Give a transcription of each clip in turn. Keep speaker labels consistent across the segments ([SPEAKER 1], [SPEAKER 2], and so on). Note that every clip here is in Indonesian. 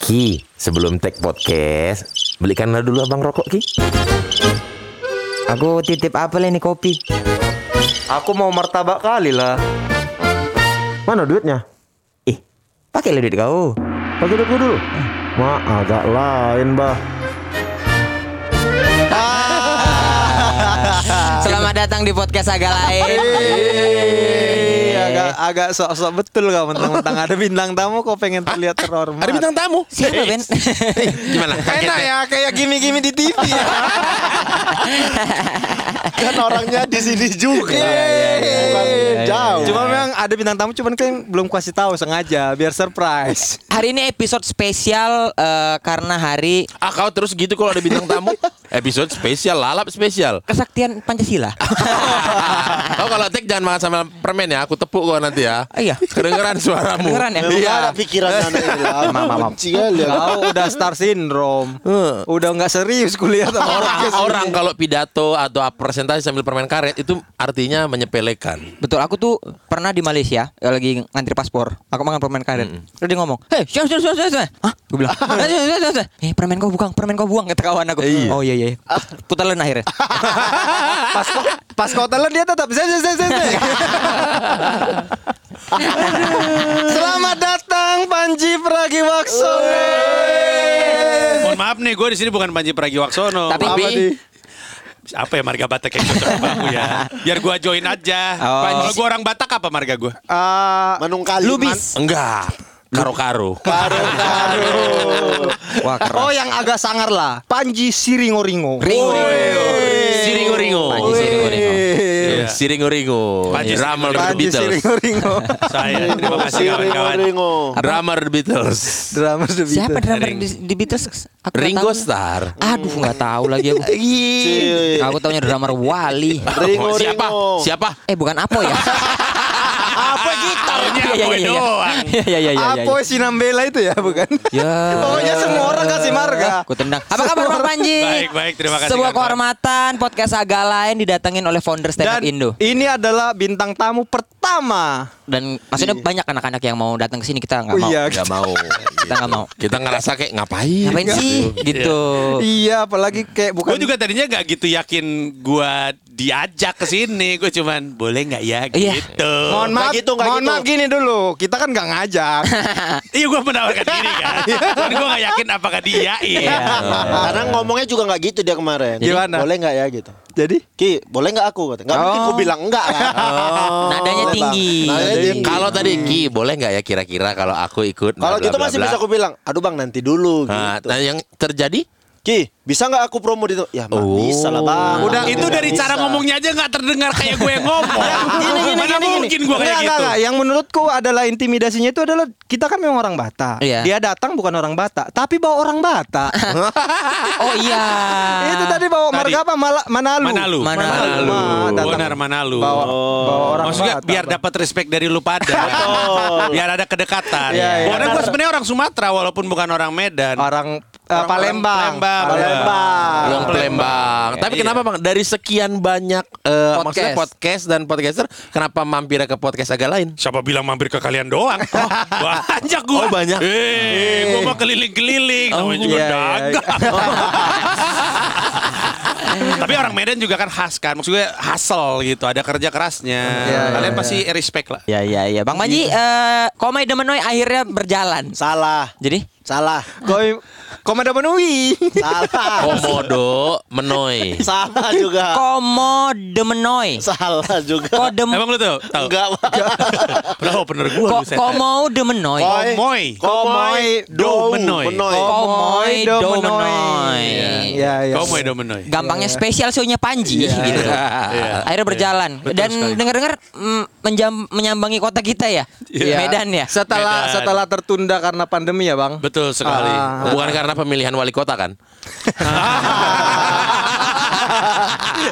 [SPEAKER 1] Ki, sebelum take podcast, belikanlah dulu abang rokok, Ki.
[SPEAKER 2] Aku titip apel ini kopi.
[SPEAKER 3] Aku mau martabak kali lah.
[SPEAKER 4] Mana duitnya?
[SPEAKER 2] Ih, pakai duit kau.
[SPEAKER 4] Pakai duit gua dulu. Ma, agak lain, Bah.
[SPEAKER 5] Selamat datang di podcast agak lain.
[SPEAKER 3] Iya, agak agak sok-sok betul kau mentang-mentang ada bintang tamu kau pengen terlihat terhormat.
[SPEAKER 6] Ada bintang tamu.
[SPEAKER 5] Oh, Siapa Ben?
[SPEAKER 6] Gimana? Enak ya kayak gini-gini di TV
[SPEAKER 3] Iya,
[SPEAKER 6] ya. kan orangnya di sini juga.
[SPEAKER 3] Eh,
[SPEAKER 7] Eh,
[SPEAKER 6] Bukan Jauh.
[SPEAKER 3] iya, Cuma memang ada bintang tamu cuman kan belum kasih tahu sengaja biar surprise.
[SPEAKER 5] Hari ini episode spesial eh, karena hari
[SPEAKER 6] ah kau terus gitu kalau ada bintang tamu. Episode spesial lalap spesial.
[SPEAKER 5] kesaktian Pancasila.
[SPEAKER 6] kau kalau tek jangan makan sama permen ya, aku tepuk kau nanti ya.
[SPEAKER 5] Iya.
[SPEAKER 6] Kedengeran suaramu.
[SPEAKER 5] Kedengeran ya?
[SPEAKER 6] Iya.
[SPEAKER 7] ada pikiran anak ini lah.
[SPEAKER 3] Ah,
[SPEAKER 7] Benci kali ya.
[SPEAKER 3] Kau udah star syndrome. Udah nggak serius kuliah sama orang.
[SPEAKER 6] Orang, orang kalau pidato atau presentasi sambil permen karet itu artinya menyepelekan.
[SPEAKER 5] Betul, aku tuh pernah di Malaysia eh, lagi ngantri paspor. Aku makan permen karet. Terus dia ngomong, "Hei, siap siap siap siap." Hah? Gue bilang, "Eh, siap, siap, siap, siap." "Eh, permen kau buang, permen kau buang," kata kawan aku. Oh iya iya. Putaran akhirnya.
[SPEAKER 3] pas kau- pas kau telan dia tetap zeng zeng zeng zeng, zeng. Selamat datang Panji Pragiwaksono.
[SPEAKER 8] Mohon maaf nih, gue di sini bukan Panji Pragiwaksono.
[SPEAKER 5] Tapi-
[SPEAKER 8] apa,
[SPEAKER 5] Tapi-
[SPEAKER 8] nih? apa ya marga Batak yang cocok sama aku ya? Biar gue join aja.
[SPEAKER 5] Oh.
[SPEAKER 8] Panji. Kalau gue orang Batak apa marga gue?
[SPEAKER 3] Ah,
[SPEAKER 7] Manung kali.
[SPEAKER 5] Lubis.
[SPEAKER 6] Enggak. Karo-karo.
[SPEAKER 5] Wah, keren.
[SPEAKER 3] Oh yang agak sangar lah Panji Siringo-ringo
[SPEAKER 5] Ringo, ringo.
[SPEAKER 6] Siringo-ringo.
[SPEAKER 5] Panji siringo-ringo.
[SPEAKER 6] Iya. Siringo-ringo.
[SPEAKER 8] Panji
[SPEAKER 6] Drummer
[SPEAKER 8] siringo-ringo.
[SPEAKER 6] The
[SPEAKER 3] Panji
[SPEAKER 6] Beatles.
[SPEAKER 3] Siringo-ringo
[SPEAKER 8] Saya. Terima kasih
[SPEAKER 7] Ringo,
[SPEAKER 8] kawan-kawan.
[SPEAKER 7] Ringo.
[SPEAKER 6] Drummer The Beatles.
[SPEAKER 3] Drama sedih
[SPEAKER 5] Siapa drummer di, di Beatles? Aku nggak
[SPEAKER 6] Ringo
[SPEAKER 5] tahu.
[SPEAKER 6] Starr.
[SPEAKER 5] Aduh, nggak tahu lagi aku.
[SPEAKER 3] Iya,
[SPEAKER 7] Cie.
[SPEAKER 5] Aku taunya drummer Wali.
[SPEAKER 7] Ringo,
[SPEAKER 6] siapa?
[SPEAKER 7] Ringo.
[SPEAKER 6] Siapa?
[SPEAKER 5] Eh bukan Apo ya?
[SPEAKER 6] Apa gitar?
[SPEAKER 8] Taunya
[SPEAKER 5] Iya, iya,
[SPEAKER 8] Apoy
[SPEAKER 5] iya, iya.
[SPEAKER 8] doang.
[SPEAKER 5] Iya iya iya iya.
[SPEAKER 3] Apoy Sinambela itu ya bukan
[SPEAKER 5] Ya.
[SPEAKER 3] Pokoknya semua orang kasih marga
[SPEAKER 5] Aku tendang. Apa kabar Bang Panji?
[SPEAKER 8] Baik, baik, terima kasih,
[SPEAKER 5] Sebuah
[SPEAKER 8] kawan.
[SPEAKER 5] kehormatan podcast agak lain didatengin oleh founder Stand Up
[SPEAKER 3] Dan
[SPEAKER 5] Indo.
[SPEAKER 3] ini adalah bintang tamu pertama
[SPEAKER 5] Dan maksudnya banyak anak-anak yang mau datang ke sini kita nggak
[SPEAKER 3] Iya. Oh,
[SPEAKER 5] mau.
[SPEAKER 3] iya.
[SPEAKER 6] Gak mau.
[SPEAKER 5] Kita nggak mau.
[SPEAKER 6] Kita ngerasa kayak ngapain?
[SPEAKER 5] Ngapain sih
[SPEAKER 8] Iya.
[SPEAKER 5] gitu?
[SPEAKER 3] Iya apalagi kayak bukan
[SPEAKER 8] Gue juga tadinya gak gitu yakin gue diajak ke sini. Gue cuman boleh nggak ya
[SPEAKER 5] Iya.
[SPEAKER 8] gitu.
[SPEAKER 3] Mohon
[SPEAKER 7] Nggak
[SPEAKER 3] maaf,
[SPEAKER 7] gitu, nggak
[SPEAKER 3] mohon
[SPEAKER 7] gitu.
[SPEAKER 3] maaf gini dulu Kita kan gak ngajak
[SPEAKER 8] Iya gue menawarkan diri kan.
[SPEAKER 7] Iya.
[SPEAKER 8] Dan gue gak yakin apakah dia iya.
[SPEAKER 7] Karena ngomongnya juga nggak gitu dia kemarin.
[SPEAKER 3] Gimana?
[SPEAKER 7] Boleh nggak ya gitu?
[SPEAKER 3] Jadi
[SPEAKER 7] Ki, boleh nggak aku kata? Nggak mungkin ku bilang enggak kan?
[SPEAKER 5] Nadanya
[SPEAKER 7] Boleh, Bang.
[SPEAKER 3] Iya.
[SPEAKER 5] tinggi.
[SPEAKER 7] Nadanya tinggi.
[SPEAKER 6] Kalau tadi Ki boleh nggak ya kira-kira kalau aku ikut? bla,
[SPEAKER 7] Kalau
[SPEAKER 6] bla,
[SPEAKER 7] gitu
[SPEAKER 6] bla,
[SPEAKER 7] masih
[SPEAKER 6] bla.
[SPEAKER 7] bisa aku bilang, aduh bang nanti dulu
[SPEAKER 6] Nah,
[SPEAKER 7] gitu.
[SPEAKER 6] nah, yang terjadi?
[SPEAKER 7] Ki, bisa nggak aku promo di itu? Ya nggak
[SPEAKER 6] Oh.
[SPEAKER 7] bisa lah bang.
[SPEAKER 8] Udah
[SPEAKER 7] Nggak
[SPEAKER 8] itu dari
[SPEAKER 7] bisa.
[SPEAKER 8] cara ngomongnya aja nggak terdengar kayak gue yang ngomong.
[SPEAKER 3] Iya, Gini, gini,
[SPEAKER 8] Mana
[SPEAKER 3] gini, gini.
[SPEAKER 8] mungkin gue kayak
[SPEAKER 3] Nggak, nggak,
[SPEAKER 8] gitu.
[SPEAKER 3] nggak. Yang menurutku adalah intimidasinya itu adalah kita kan memang orang Batak.
[SPEAKER 5] Iya.
[SPEAKER 3] Dia datang bukan orang Batak, tapi bawa orang Batak.
[SPEAKER 5] Oh iya.
[SPEAKER 3] itu tadi bawa
[SPEAKER 8] Tadi.
[SPEAKER 3] marga apa? Mala- Manalu.
[SPEAKER 8] Manalu.
[SPEAKER 5] Manalu.
[SPEAKER 3] Ma, datang.
[SPEAKER 8] Benar Manalu.
[SPEAKER 3] Bawa, bawa orang
[SPEAKER 8] Maksudnya
[SPEAKER 3] Batak.
[SPEAKER 8] biar dapat respect dari lu pada. biar ada kedekatan. Karena gue sebenarnya orang Sumatera walaupun bukan orang Medan.
[SPEAKER 3] orang eh,
[SPEAKER 8] Orang
[SPEAKER 3] Palembang.
[SPEAKER 8] Palembang. Iya.
[SPEAKER 7] Palembang.
[SPEAKER 6] Yang Palembang. Tapi kenapa Bang dari sekian banyak eh,
[SPEAKER 5] Podcast.
[SPEAKER 6] maksudnya podcast dan podcaster kenapa mampir ke podcast agak lain?
[SPEAKER 8] Siapa bilang mampir ke kalian doang? Oh, banyak gue.
[SPEAKER 6] Oh, banyak.
[SPEAKER 8] Eh, gue mau keliling-keliling. Namanya juga
[SPEAKER 3] iya, iya.
[SPEAKER 8] dagang. Tapi orang Medan juga kan khas kan. Maksudnya hustle gitu. Ada kerja kerasnya.
[SPEAKER 3] Iya, iya,
[SPEAKER 8] kalian
[SPEAKER 3] iya.
[SPEAKER 8] pasti respect lah.
[SPEAKER 5] Ya ya ya. Bang Panji,
[SPEAKER 8] Iya.
[SPEAKER 5] eh Komai Demenoi akhirnya berjalan.
[SPEAKER 7] Salah,
[SPEAKER 5] Jadi
[SPEAKER 7] salah,
[SPEAKER 3] Koi- Komando Menui.
[SPEAKER 7] salah,
[SPEAKER 6] Komodo Oh, Menoi.
[SPEAKER 7] salah juga,
[SPEAKER 5] Komo Demenoi.
[SPEAKER 7] salah juga.
[SPEAKER 5] Kodem
[SPEAKER 8] Emang lu tau? Tau.
[SPEAKER 7] Enggak, Bang.
[SPEAKER 8] Loh, bener gue.
[SPEAKER 5] Ko- Komo Demenoi.
[SPEAKER 7] Oh,
[SPEAKER 8] Komoy.
[SPEAKER 7] Komoy,
[SPEAKER 8] Do Menoy.
[SPEAKER 7] Menoy.
[SPEAKER 6] Oh.
[SPEAKER 5] Komoy Domenoi.
[SPEAKER 3] Ya, ya.
[SPEAKER 8] Komoy Domenoy.
[SPEAKER 5] Gampangnya spesial show-nya Panji gitu. Akhirnya berjalan dan dengar-dengar mm, menjam- menyambangi kota kita ya.
[SPEAKER 3] Iya.
[SPEAKER 5] Medan ya.
[SPEAKER 3] Setelah
[SPEAKER 8] Medan.
[SPEAKER 3] setelah tertunda karena pandemi ya, Bang.
[SPEAKER 8] Betul sekali.
[SPEAKER 3] Ah.
[SPEAKER 6] Bukan karena pemilihan wali kota kan?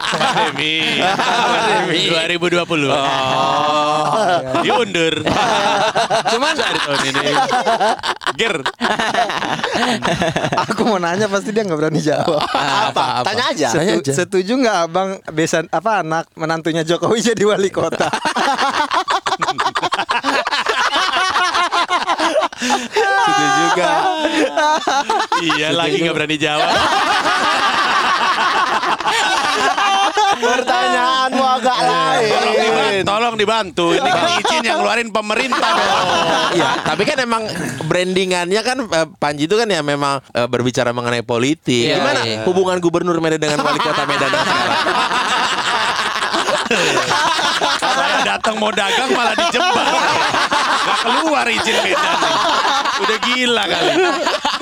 [SPEAKER 8] Pandemi. Pandemi. Oh. 2020.
[SPEAKER 6] Oh.
[SPEAKER 8] Diundur. Cuman dari tahun ini. Ger.
[SPEAKER 3] Aku mau nanya pasti dia nggak berani jawab.
[SPEAKER 7] Apa? Tanya aja.
[SPEAKER 3] Setu- Setuju nggak abang besan apa anak menantunya Jokowi jadi wali kota?
[SPEAKER 6] Setuju juga.
[SPEAKER 8] Iya lagi nggak berani jawab.
[SPEAKER 7] Pertanyaanmu agak
[SPEAKER 8] Tolong dibantu,
[SPEAKER 7] lain.
[SPEAKER 8] tolong dibantu. Ini kan izin yang ngeluarin pemerintah. dong.
[SPEAKER 6] Iya, tapi kan emang brandingannya kan eh, Panji itu kan ya memang eh, berbicara mengenai politik.
[SPEAKER 5] Iya,
[SPEAKER 6] Gimana
[SPEAKER 5] iya.
[SPEAKER 6] hubungan gubernur Medan dengan wali kota Medan yang sekarang?
[SPEAKER 8] Saya datang mau dagang malah dijebak. Gak keluar izin Medan. nih. Udah gila kali.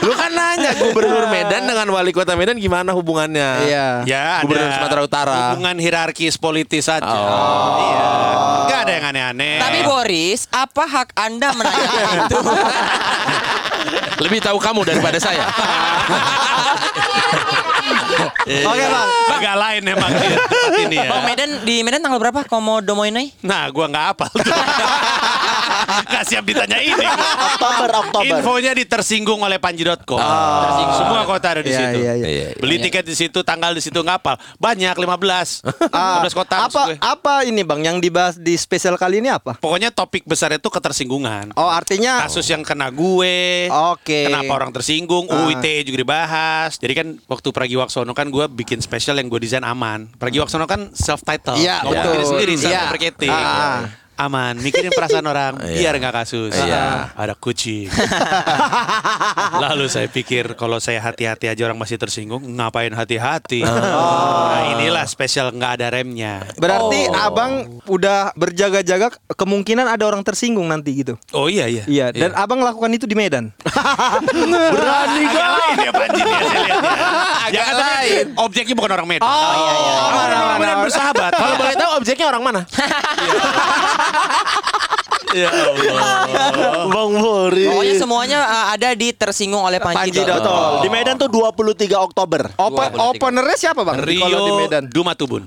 [SPEAKER 6] Lu kan nanya gubernur Medan dengan wali kota Medan gimana hubungannya?
[SPEAKER 3] Iya.
[SPEAKER 8] Ya, ada
[SPEAKER 6] Gubernur Sumatera Utara.
[SPEAKER 8] Hubungan hierarkis politis saja. Iya. Gak ada yang aneh-aneh.
[SPEAKER 5] Tapi Boris, apa hak Anda menanyakan itu?
[SPEAKER 6] Lebih tahu kamu daripada saya.
[SPEAKER 3] Oke bang.
[SPEAKER 8] Agak Iya. lain emang di tempat ini ya.
[SPEAKER 5] Bang Medan di Medan tanggal berapa? Komodo Moinai?
[SPEAKER 8] Nah, gua nggak apa. Gak siap ditanya ini.
[SPEAKER 7] Oktober, Oktober.
[SPEAKER 8] Infonya ditersinggung oleh panji.com. Tersinggung. Semua kota ada
[SPEAKER 3] Ah.
[SPEAKER 8] di
[SPEAKER 3] Iya,
[SPEAKER 8] situ.
[SPEAKER 3] iya, iya.
[SPEAKER 8] Beli tiket di situ, tanggal di situ ngapal. Banyak 15. 15 kota
[SPEAKER 3] Ah.
[SPEAKER 8] maksud
[SPEAKER 3] apa
[SPEAKER 8] gue.
[SPEAKER 3] apa ini bang yang dibahas di spesial kali ini apa?
[SPEAKER 8] Pokoknya topik besar itu ketersinggungan.
[SPEAKER 3] Oh artinya
[SPEAKER 8] Kasus yang kena gue.
[SPEAKER 3] Oke.
[SPEAKER 8] Kenapa orang tersinggung?
[SPEAKER 3] Ah.
[SPEAKER 8] UIT juga dibahas. Jadi kan waktu Pragiwaksono kan gue bikin spesial yang gue desain aman. Pragiwaksono kan self title.
[SPEAKER 3] Iya, betul.
[SPEAKER 8] sendiri
[SPEAKER 3] Iya.
[SPEAKER 8] self marketing.
[SPEAKER 3] Ah.
[SPEAKER 8] Aman, mikirin perasaan orang biar nggak kasus.
[SPEAKER 6] Iya.
[SPEAKER 8] Ada kucing. Lalu saya pikir kalau saya hati-hati aja orang masih tersinggung, ngapain hati-hati?
[SPEAKER 3] Oh.
[SPEAKER 8] Nah, inilah spesial nggak ada remnya.
[SPEAKER 3] berarti abang udah berjaga-jaga kemungkinan ada orang tersinggung nanti gitu.
[SPEAKER 8] Oh iya iya.
[SPEAKER 3] Iya. Dan abang lakukan itu di Medan.
[SPEAKER 8] Berani gak? lain ya Panji dia saya lihat ya. Jangan lain. Objeknya bukan orang Medan. Oh iya iya. Orang
[SPEAKER 3] Orang
[SPEAKER 8] Medan
[SPEAKER 3] Medan.
[SPEAKER 8] bersahabat.
[SPEAKER 6] Kalau boleh tahu objeknya orang mana?
[SPEAKER 8] Ya Allah.
[SPEAKER 7] Bang Boris.
[SPEAKER 5] Pokoknya semuanya uh, ada di tersinggung oleh Panji.
[SPEAKER 3] Panji.com.
[SPEAKER 7] Betul. Di Medan tuh 23 Oktober.
[SPEAKER 3] Open, openernya siapa bang? Di-
[SPEAKER 8] Rio
[SPEAKER 3] Kalau di Medan.
[SPEAKER 8] Dumatubun.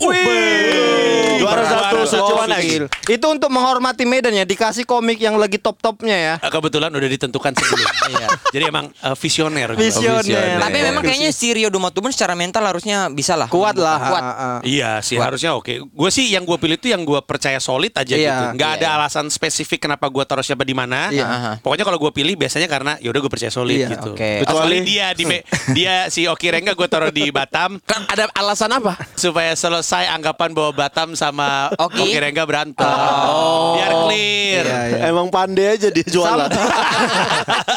[SPEAKER 7] Juara satu Sucuan X.
[SPEAKER 3] Itu untuk menghormati Medan ya. Dikasih komik yang lagi top-topnya ya.
[SPEAKER 8] Eh, Kebetulan udah ditentukan sebelum. Jadi emang eh, visioner. gua.
[SPEAKER 3] Visioner.
[SPEAKER 5] Tapi memang kayaknya si Rio Dumatubun secara mental harusnya bisa lah.
[SPEAKER 3] kuat lah.
[SPEAKER 5] Kuat.
[SPEAKER 3] ah, ah.
[SPEAKER 8] Iya sih harusnya oke. Gue sih yang gue pilih itu yang gue percaya solid aja
[SPEAKER 3] Iya.
[SPEAKER 8] gitu. Gak ada alasan spesifik kenapa gue taruh siapa di mana.
[SPEAKER 3] Iya.
[SPEAKER 8] Aha. Pokoknya kalau gue pilih biasanya karena yaudah gue percaya solid
[SPEAKER 3] Iya,
[SPEAKER 8] gitu.
[SPEAKER 5] oke.
[SPEAKER 8] Kecuali
[SPEAKER 7] Kecuali-
[SPEAKER 8] dia di me- dia si Oki Rengga gue taruh di Batam.
[SPEAKER 6] Kan ada alasan apa?
[SPEAKER 8] supaya selesai anggapan bahwa Batam sama
[SPEAKER 5] Oki.
[SPEAKER 8] Oki Rengga berantem. Biar clear.
[SPEAKER 3] Iya, iya.
[SPEAKER 7] Emang pandai aja dia jualan.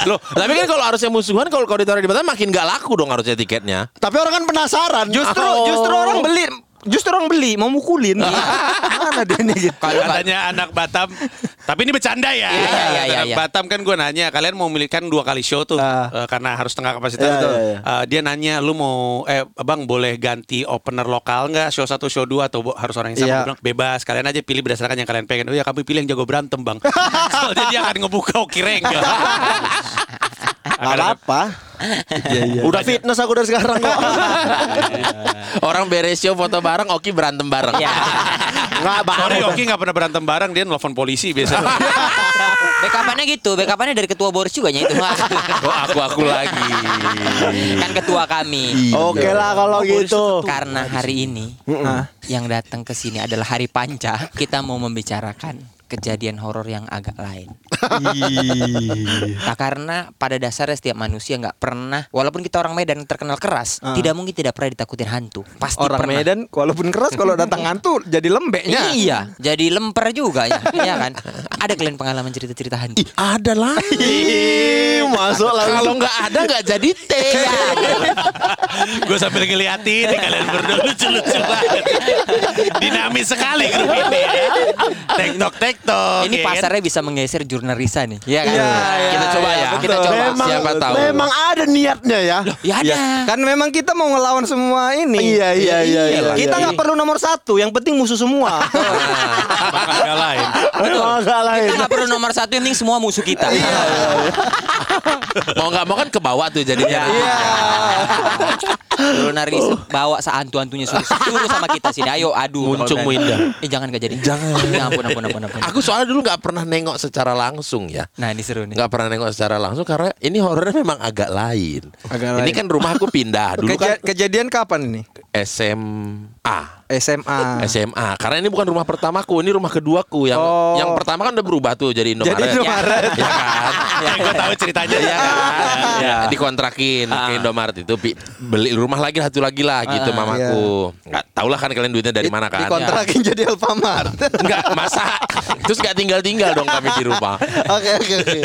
[SPEAKER 6] Loh, tapi kan kalau harusnya musuhan kalau kalau ditaruh di Batam makin nggak laku dong harusnya tiketnya.
[SPEAKER 7] Tapi orang kan penasaran. Oh.
[SPEAKER 3] Justru justru orang beli justru orang beli mau mukulin. Mana dia nih gitu.
[SPEAKER 8] Iya, Katanya anak Batam. Tapi ini bercanda
[SPEAKER 5] Iya,
[SPEAKER 8] ya.
[SPEAKER 5] iya, iya, iya,
[SPEAKER 8] anak
[SPEAKER 5] iya.
[SPEAKER 8] Batam kan gue nanya, kalian mau milikan dua kali show tuh
[SPEAKER 3] Ah.
[SPEAKER 8] eh, karena harus tengah kapasitas
[SPEAKER 7] Iya,
[SPEAKER 8] tuh.
[SPEAKER 7] iya, iya.
[SPEAKER 8] Eh, dia nanya, lu mau eh Bang boleh ganti opener lokal nggak show satu show dua atau bo- harus orang yang sama
[SPEAKER 3] Iya.
[SPEAKER 8] Gua bilang, bebas kalian aja pilih berdasarkan yang kalian pengen. Oh ya kami pilih yang jago berantem Bang. Soalnya dia akan ngebuka Oki Rengga.
[SPEAKER 7] Gak apa. Udah fitness aku dari sekarang kok.
[SPEAKER 6] Orang beres show foto bareng, Oki berantem bareng.
[SPEAKER 5] Iya.
[SPEAKER 7] Nggak
[SPEAKER 8] Sorry
[SPEAKER 7] banget.
[SPEAKER 8] Oki nggak pernah berantem bareng dia nelfon polisi biasanya.
[SPEAKER 5] Backupannya gitu, backupannya dari ketua Boris juga ya itu.
[SPEAKER 6] Oh, aku Iya. aku lagi.
[SPEAKER 5] kan ketua kami.
[SPEAKER 7] Oke lah kalau Oh, gitu.
[SPEAKER 5] Karena hari ini Ah, yang datang ke sini adalah hari Panca, kita mau membicarakan kejadian horor yang agak lain. Nah, karena pada dasarnya setiap manusia nggak pernah, walaupun kita orang Medan yang terkenal keras, tidak mungkin tidak pernah ditakutin hantu. Pasti
[SPEAKER 3] Orang
[SPEAKER 5] pernah.
[SPEAKER 3] Medan walaupun keras kalau datang hantu jadi lembeknya.
[SPEAKER 5] Iya, jadi lemper juga ya, Iya kan? Ada kalian pengalaman cerita-cerita hantu?
[SPEAKER 6] Ada lagi.
[SPEAKER 7] Ih, masuk
[SPEAKER 6] Kalau
[SPEAKER 7] langsung.
[SPEAKER 6] nggak ada nggak jadi teh.
[SPEAKER 5] Iya.
[SPEAKER 8] Gue sambil
[SPEAKER 6] Iya,
[SPEAKER 8] ngeliatin nih, Ya, kalian berdua lucu-lucu banget. Dinamis sekali grup ini ya. Tektok tektok. Iya,
[SPEAKER 5] Ini pasarnya bisa menggeser jurnalisa nih. Iya kan?
[SPEAKER 6] Kita coba ya.
[SPEAKER 5] Kita
[SPEAKER 6] Betul.
[SPEAKER 5] coba.
[SPEAKER 7] iya, Memang,
[SPEAKER 6] siapa tahu.
[SPEAKER 7] memang ada niatnya ya.
[SPEAKER 5] Ya ada.
[SPEAKER 3] Kan memang kita mau ngelawan semua ini.
[SPEAKER 7] Iya, iya, iya, iya,
[SPEAKER 3] Kita
[SPEAKER 7] iya.
[SPEAKER 3] nggak perlu nomor satu, yang penting musuh semua.
[SPEAKER 8] Agak lain.
[SPEAKER 7] Emang agak lain.
[SPEAKER 5] Kita nggak perlu nomor satu, yang penting semua musuh kita.
[SPEAKER 6] Mau nggak mau kan ke bawah tuh jadinya. Iya.
[SPEAKER 5] Jurnalis bawa seantu-antunya suruh, suruh sama kita sini. Ayo adu.
[SPEAKER 6] Muncung Winda.
[SPEAKER 5] Eh jangan gak jadi. Jangan. ampun, ampun, ampun, ampun.
[SPEAKER 6] Aku soalnya dulu nggak pernah nengok secara langsung ya.
[SPEAKER 5] Nah ini seru nih.
[SPEAKER 6] nggak pernah nengok secara langsung karena ini horornya memang agak lain.
[SPEAKER 3] Agak lain.
[SPEAKER 6] ini kan rumah aku pindah dulu
[SPEAKER 3] Keja-
[SPEAKER 6] kan
[SPEAKER 3] kejadian kapan ini?
[SPEAKER 6] SMA.
[SPEAKER 3] SMA.
[SPEAKER 6] SMA. Karena ini bukan rumah pertamaku, ini rumah keduaku. Yang
[SPEAKER 3] Oh.
[SPEAKER 6] yang pertama kan udah berubah tuh jadi Indomaret.
[SPEAKER 3] Jadi Indomaret.
[SPEAKER 6] Ya, ya kan.
[SPEAKER 8] Ya, gue tahu ceritanya
[SPEAKER 6] Iya
[SPEAKER 8] ya.
[SPEAKER 6] kan?
[SPEAKER 8] Iya.
[SPEAKER 6] Dikontrakin
[SPEAKER 7] Ah.
[SPEAKER 6] ke Indomaret itu pi- beli rumah lagi satu lagi lah gitu mamaku.
[SPEAKER 7] Iya.
[SPEAKER 6] Nggak tahu lah kan kalian duitnya dari mana kan?
[SPEAKER 7] Dikontrakin jadi Alfamart.
[SPEAKER 6] Enggak, masa terus nggak tinggal-tinggal dong kami di rumah.
[SPEAKER 7] Oke oke oke.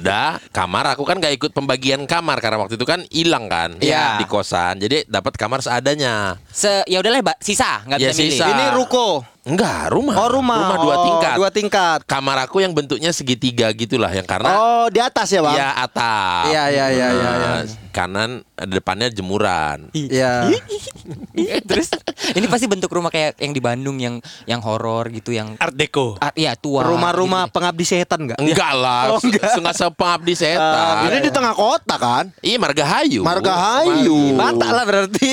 [SPEAKER 6] Udah, kamar aku kan nggak ikut pembagian kamar karena waktu itu kan hilang kan
[SPEAKER 5] Iya.
[SPEAKER 6] di kosan. Jadi dapat kamar seadanya.
[SPEAKER 5] Se ya udahlah Mbak, sisa nggak
[SPEAKER 6] Ya,
[SPEAKER 5] bisa milih.
[SPEAKER 6] sisa.
[SPEAKER 7] Ini ruko.
[SPEAKER 6] Enggak, rumah.
[SPEAKER 7] Oh rumah.
[SPEAKER 6] Rumah dua
[SPEAKER 7] Oh,
[SPEAKER 6] tingkat.
[SPEAKER 7] Dua tingkat.
[SPEAKER 6] Kamar aku yang bentuknya segitiga gitulah yang karena
[SPEAKER 7] Oh di atas ya bang.
[SPEAKER 6] ya atap.
[SPEAKER 7] Iya, iya, iya, iya, iya.
[SPEAKER 6] Nah, Kanan depannya jemuran.
[SPEAKER 7] Iya.
[SPEAKER 5] Terus ini pasti bentuk rumah kayak yang di Bandung yang yang horor gitu yang
[SPEAKER 8] Art Deco.
[SPEAKER 5] ah, iya tua.
[SPEAKER 3] Rumah-rumah
[SPEAKER 5] gitu.
[SPEAKER 3] pengabdi setan enggak?
[SPEAKER 6] Enggak lah, setengah sepengabdi setan.
[SPEAKER 7] Ini di tengah kota kan?
[SPEAKER 6] Iya Margahayu.
[SPEAKER 7] Margahayu.
[SPEAKER 3] Batak lah berarti.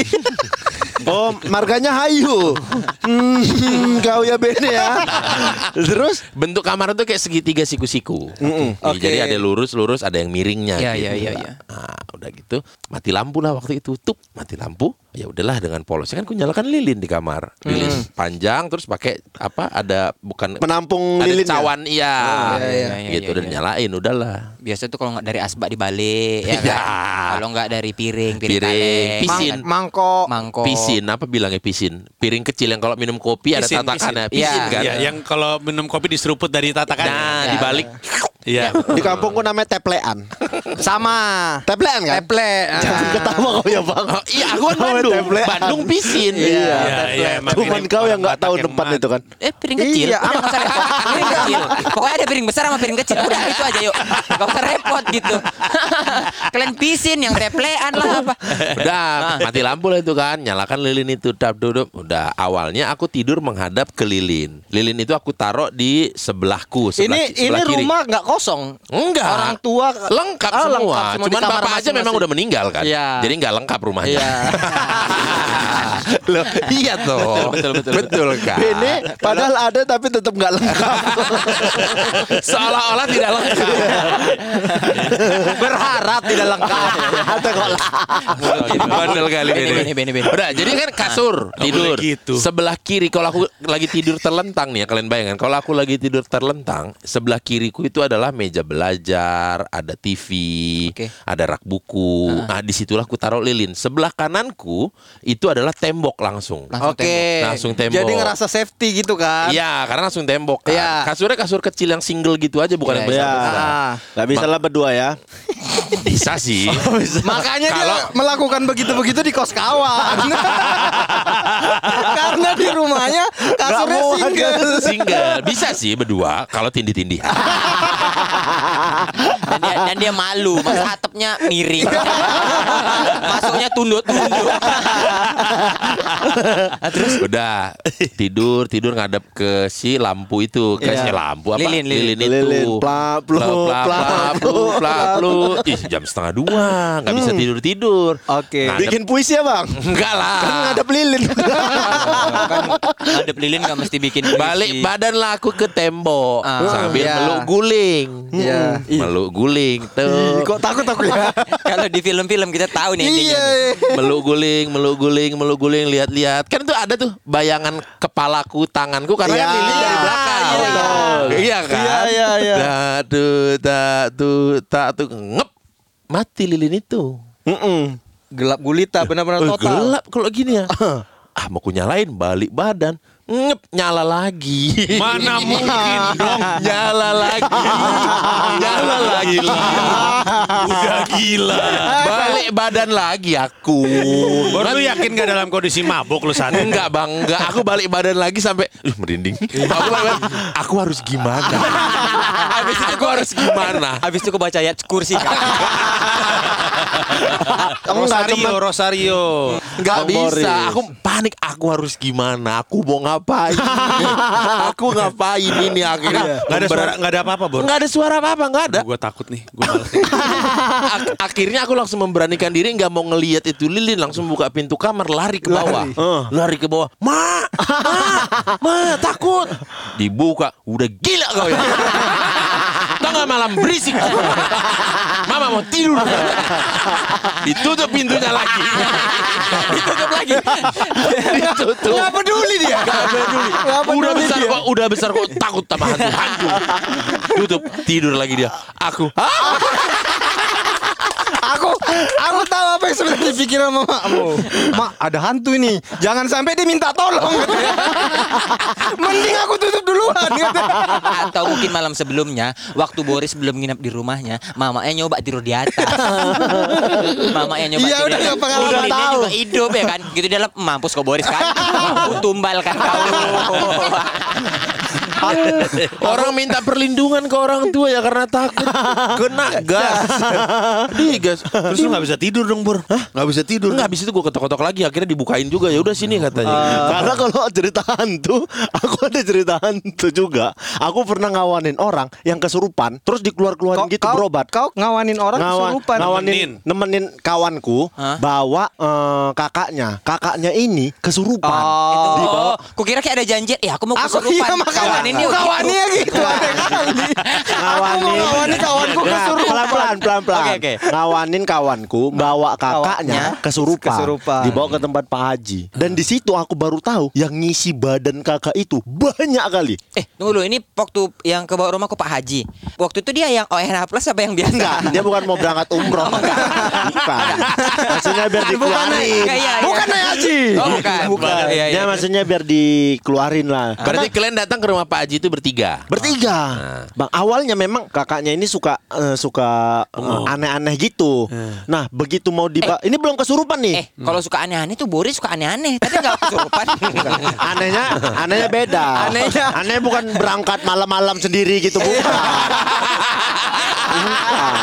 [SPEAKER 7] Oh, marganya Hayu. Hmm, kau ya Ben ya. Terus
[SPEAKER 6] Bentuk kamar itu kayak segitiga siku-siku. Nih,
[SPEAKER 3] Oke.
[SPEAKER 6] Jadi ada lurus-lurus, ada yang miringnya.
[SPEAKER 5] Iya,
[SPEAKER 6] gitu
[SPEAKER 5] iya, iya,
[SPEAKER 6] lah.
[SPEAKER 5] iya.
[SPEAKER 6] Nah, udah gitu mati lampu lah waktu itu. Tup, mati lampu. Ya udahlah dengan polosnya kan ku nyalakan lilin di kamar. Lilin panjang terus pakai apa ada bukan
[SPEAKER 7] menampung
[SPEAKER 6] ada
[SPEAKER 7] lilin. ya?
[SPEAKER 6] cawan iya.
[SPEAKER 5] iya, iya, iya, iya,
[SPEAKER 6] gitu dan
[SPEAKER 5] iya.
[SPEAKER 6] nyalain udahlah.
[SPEAKER 5] Biasa tuh kalau nggak dari asbak dibalik ya
[SPEAKER 6] Iya.
[SPEAKER 5] kan. Kalau nggak dari piring, piring,
[SPEAKER 6] Piring,
[SPEAKER 5] kaleng,
[SPEAKER 6] pisin.
[SPEAKER 5] kan?
[SPEAKER 3] Mangkok.
[SPEAKER 5] mangkok.
[SPEAKER 6] Pisin apa bilangnya pisin? Piring kecil yang kalau minum kopi ada
[SPEAKER 8] Pisin,
[SPEAKER 6] tatakannya
[SPEAKER 5] pisin.
[SPEAKER 6] pisin
[SPEAKER 5] Iya,
[SPEAKER 6] kan.
[SPEAKER 8] Ya, kan? yang kalau minum kopi diseruput dari tatakan.
[SPEAKER 6] Nah,
[SPEAKER 5] Iya.
[SPEAKER 6] dibalik.
[SPEAKER 8] Iya.
[SPEAKER 6] Ya.
[SPEAKER 7] Di kampungku namanya teplean.
[SPEAKER 3] Sama.
[SPEAKER 7] Teplean kan?
[SPEAKER 3] Teple.
[SPEAKER 5] Ah.
[SPEAKER 3] Ah.
[SPEAKER 7] Jangan ketawa kau ya bang.
[SPEAKER 6] Oh, iya, aku kan Bandung.
[SPEAKER 7] Teplean.
[SPEAKER 6] Bandung pisin.
[SPEAKER 7] Iya.
[SPEAKER 8] Iya, iya, emang
[SPEAKER 7] Cuman
[SPEAKER 8] ini
[SPEAKER 7] kau yang
[SPEAKER 8] orang
[SPEAKER 7] nggak
[SPEAKER 8] Batak
[SPEAKER 7] tahu
[SPEAKER 8] yang
[SPEAKER 7] tempat
[SPEAKER 8] mat.
[SPEAKER 7] itu kan.
[SPEAKER 5] Eh piring kecil.
[SPEAKER 3] Iya,
[SPEAKER 5] Udah, nggak usah repot. Piring kecil. Pokoknya ada piring besar sama piring kecil. Udah itu aja yuk. Gak usah repot gitu. Kalian pisin yang teplean lah apa.
[SPEAKER 6] Udah mati lampu lah itu kan Nyalakan lilin itu Dap duduk Udah awalnya aku tidur menghadap ke lilin Lilin itu aku taruh di sebelahku
[SPEAKER 3] Ini
[SPEAKER 6] sebelah,
[SPEAKER 3] ini
[SPEAKER 6] sebelah kiri.
[SPEAKER 3] rumah nggak kosong.
[SPEAKER 6] Enggak
[SPEAKER 3] Orang tua
[SPEAKER 6] Oh, Lengkap
[SPEAKER 3] Ah,
[SPEAKER 6] semua
[SPEAKER 3] lengkap semua di
[SPEAKER 6] Cuman
[SPEAKER 3] kamar
[SPEAKER 6] bapak aja memang
[SPEAKER 3] masing-masing.
[SPEAKER 6] udah meninggal kan
[SPEAKER 3] Iya.
[SPEAKER 6] Jadi nggak lengkap rumahnya
[SPEAKER 3] Iya.
[SPEAKER 6] Loh, Iya toh Betul betul Betul kan
[SPEAKER 7] Ini padahal ada tapi tetap nggak lengkap.
[SPEAKER 6] Seolah-olah tidak lengkap
[SPEAKER 3] Berharap tidak lengkap.
[SPEAKER 7] Ada kok lah.
[SPEAKER 6] Bandel kali
[SPEAKER 5] Bene,
[SPEAKER 6] ini.
[SPEAKER 5] bene, bene, bene.
[SPEAKER 6] Udah, jadi kan kasur
[SPEAKER 8] Nggak
[SPEAKER 6] tidur.
[SPEAKER 8] boleh gitu.
[SPEAKER 6] Sebelah kiri kalau aku lagi tidur terlentang nih ya kalian bayangkan kalau aku lagi tidur terlentang, sebelah kiriku itu adalah meja belajar, ada TV,
[SPEAKER 5] Oke.
[SPEAKER 6] ada rak buku. Nah, disitulah aku taruh lilin. Sebelah kananku itu adalah tembok langsung.
[SPEAKER 5] Langsung
[SPEAKER 3] Oke.
[SPEAKER 6] tembok. Eh, Langsung tembok.
[SPEAKER 3] Jadi ngerasa safety gitu kan.
[SPEAKER 6] Iya, karena langsung tembok kan.
[SPEAKER 3] Iya.
[SPEAKER 6] Kasurnya kasur kecil yang single gitu aja bukan
[SPEAKER 5] Iya,
[SPEAKER 6] yang besar.
[SPEAKER 3] Ah.
[SPEAKER 7] Gak bisa lah berdua ya.
[SPEAKER 6] Bisa sih.
[SPEAKER 3] Oh, Makanya
[SPEAKER 6] Kalau-
[SPEAKER 3] dia melakukan begitu-begitu di kos kawan. Karena di rumahnya kasurnya
[SPEAKER 7] muat,
[SPEAKER 3] single.
[SPEAKER 6] Single bisa sih berdua kalau tindih-tindihan.
[SPEAKER 5] dan dia, dan dia malu masa atapnya miring masuknya tunduk tunduk
[SPEAKER 6] Terus udah tidur tidur ngadap ke si lampu itu ke si lampu apa
[SPEAKER 5] Lilin, lilin.
[SPEAKER 6] itu
[SPEAKER 7] Lilin, plap, plu,
[SPEAKER 6] Plap, plap,
[SPEAKER 7] plap,
[SPEAKER 6] plap, plu, plap, plu. Ih, jam setengah dua nggak bisa tidur tidur
[SPEAKER 3] Oke.
[SPEAKER 7] Bikin puisi ya bang.
[SPEAKER 6] enggak lah
[SPEAKER 7] Kan ngadep lilin.
[SPEAKER 5] ngadep lilin nggak mesti bikin puisi.
[SPEAKER 6] balik badan lah aku ke tembok
[SPEAKER 5] Ah.
[SPEAKER 6] sambil
[SPEAKER 3] Iya.
[SPEAKER 6] meluk guling
[SPEAKER 3] Iya.
[SPEAKER 6] meluk guling tuh
[SPEAKER 7] Kok takut aku ya?
[SPEAKER 5] kalau di film-film kita tahu nih
[SPEAKER 7] Iya,
[SPEAKER 5] intinya
[SPEAKER 6] meluk guling meluk guling meluk guling lihat-lihat kan tuh ada tuh bayangan kepalaku tanganku karena
[SPEAKER 7] Iya.
[SPEAKER 6] kan lilin dari belakang
[SPEAKER 7] Iya.
[SPEAKER 6] Betul. iya kan
[SPEAKER 7] Iya, iya, iya.
[SPEAKER 6] tak tuh tak tuh tak tuh ngep mati lilin itu
[SPEAKER 7] Mm-mm.
[SPEAKER 3] Gelap gulita benar-benar
[SPEAKER 6] Eh,
[SPEAKER 3] total.
[SPEAKER 6] gelap kalau gini ya
[SPEAKER 7] Uh-huh.
[SPEAKER 6] ah mau ku nyalain balik badan ngep nyala lagi Iya.
[SPEAKER 8] Mana mungkin dong.
[SPEAKER 6] nyala lagi nyala lagi
[SPEAKER 8] Udah gila.
[SPEAKER 6] balik badan lagi aku
[SPEAKER 8] Baru lu yakin gak dalam kondisi mabuk lu saat itu?
[SPEAKER 6] Enggak bang, enggak. Aku balik badan lagi sampai Ih, merinding.
[SPEAKER 8] Iya.
[SPEAKER 6] aku, balik badan, aku harus gimana? Habis itu aku harus gimana?
[SPEAKER 5] Habis itu kebaca ayat kursi
[SPEAKER 8] Rosario, Rosario.
[SPEAKER 6] Enggak
[SPEAKER 7] Bang
[SPEAKER 6] bisa.
[SPEAKER 7] Boris.
[SPEAKER 6] Aku panik. Aku harus gimana? Aku mau ngapain? aku ngapain ini akhirnya?
[SPEAKER 8] Gak Iya. ada suara,
[SPEAKER 6] Memberat-
[SPEAKER 8] gak ada apa-apa, Bor.
[SPEAKER 6] Nggak ada suara apa-apa, nggak ada.
[SPEAKER 8] Gue takut nih. Gue males.
[SPEAKER 6] Ak- akhirnya aku langsung memberanikan diri nggak mau ngelihat itu lilin langsung buka pintu kamar lari ke bawah lari, ke bawah ma ma ma takut dibuka udah gila kau ya Tau nggak Mama malam berisik. Mama mau tidur. Ditutup pintunya lagi. Ditutup lagi. Ditutup. Gak peduli dia. Gak peduli. udah besar kok, udah besar kok takut sama hantu. Hantu. Tutup tidur lagi dia. Aku. "Hah?"
[SPEAKER 7] aku aku tahu apa yang sebenarnya dipikirin sama makmu. Mak, ada hantu ini. Jangan sampai dia minta tolong. katanya. Mending aku tutup duluan. katanya.
[SPEAKER 5] Atau mungkin malam sebelumnya Waktu Boris belum nginap di rumahnya Mamanya nyoba tidur di atas Mamanya nyoba
[SPEAKER 7] Iya, udah,
[SPEAKER 5] tidur di atas
[SPEAKER 7] nggak pengalaman,
[SPEAKER 5] Udah
[SPEAKER 7] tahu.
[SPEAKER 5] juga hidup ya kan Gitu dalam Mampus kau Boris kan Aku tumbal kan kau
[SPEAKER 6] Orang minta perlindungan ke orang tua ya karena takut kena gas. Digas.
[SPEAKER 8] Terus lu gak bisa tidur dong Bur Gak bisa tidur
[SPEAKER 6] Enggak habis itu gue ketok-ketok lagi akhirnya dibukain juga ya udah sini katanya.
[SPEAKER 7] Karena kalau cerita hantu, aku ada cerita hantu juga. Aku pernah ngawanin orang yang kesurupan, terus dikeluar-keluarin gitu berobat.
[SPEAKER 3] Kau ngawanin orang
[SPEAKER 7] Ngawa-
[SPEAKER 3] kesurupan. iya,
[SPEAKER 7] ngawanin nemenin, kawanku bawa eh, kakaknya. Kakaknya ini kesurupan.
[SPEAKER 5] Oh, kukira kayak ada janji Ya aku mau
[SPEAKER 7] Aku
[SPEAKER 5] kesurupan
[SPEAKER 7] iya makanya
[SPEAKER 5] Kawanin yuk
[SPEAKER 7] Kawannya gitu aneh kali. Aku mau ngawanin kawanku kesurupan. Pelan-pelan, pelan-pelan.
[SPEAKER 5] Oke, oke.
[SPEAKER 7] Ngawanin kawanku bawa kakaknya kesurupan.
[SPEAKER 3] Kesurupan.
[SPEAKER 7] Dibawa ke tempat Pak Haji. Dan di situ aku baru tahu yang ngisi badan kakak itu banyak kali.
[SPEAKER 5] Eh tunggu dulu ini waktu yang ke bawah rumahku Pak Haji Waktu itu dia yang ONH plus apa yang biasa?
[SPEAKER 7] Enggak, dia bukan mau berangkat umroh. Bukan. Maksudnya biar dikeluarin.
[SPEAKER 5] Iya, iya, iya.
[SPEAKER 7] Bukan naik haji.
[SPEAKER 5] Oh, bukan.
[SPEAKER 7] Bukan.
[SPEAKER 5] Iya, iya.
[SPEAKER 7] Dia maksudnya biar dikeluarin lah.
[SPEAKER 6] Berarti kalian datang ke rumah Pak Haji itu bertiga.
[SPEAKER 7] Bertiga.
[SPEAKER 5] Ah.
[SPEAKER 7] Bang, awalnya memang kakaknya ini suka eh, suka eh, aneh-aneh gitu. Nah, begitu mau diba ini belum kesurupan nih.
[SPEAKER 5] Oh. Eh, kalau suka aneh-aneh tuh Boris suka aneh-aneh. Tadi enggak kesurupan.
[SPEAKER 7] Anehnya anehnya beda. Anehnya aneh bukan berangkat malam-malam sendiri gitu bukan. Bukan.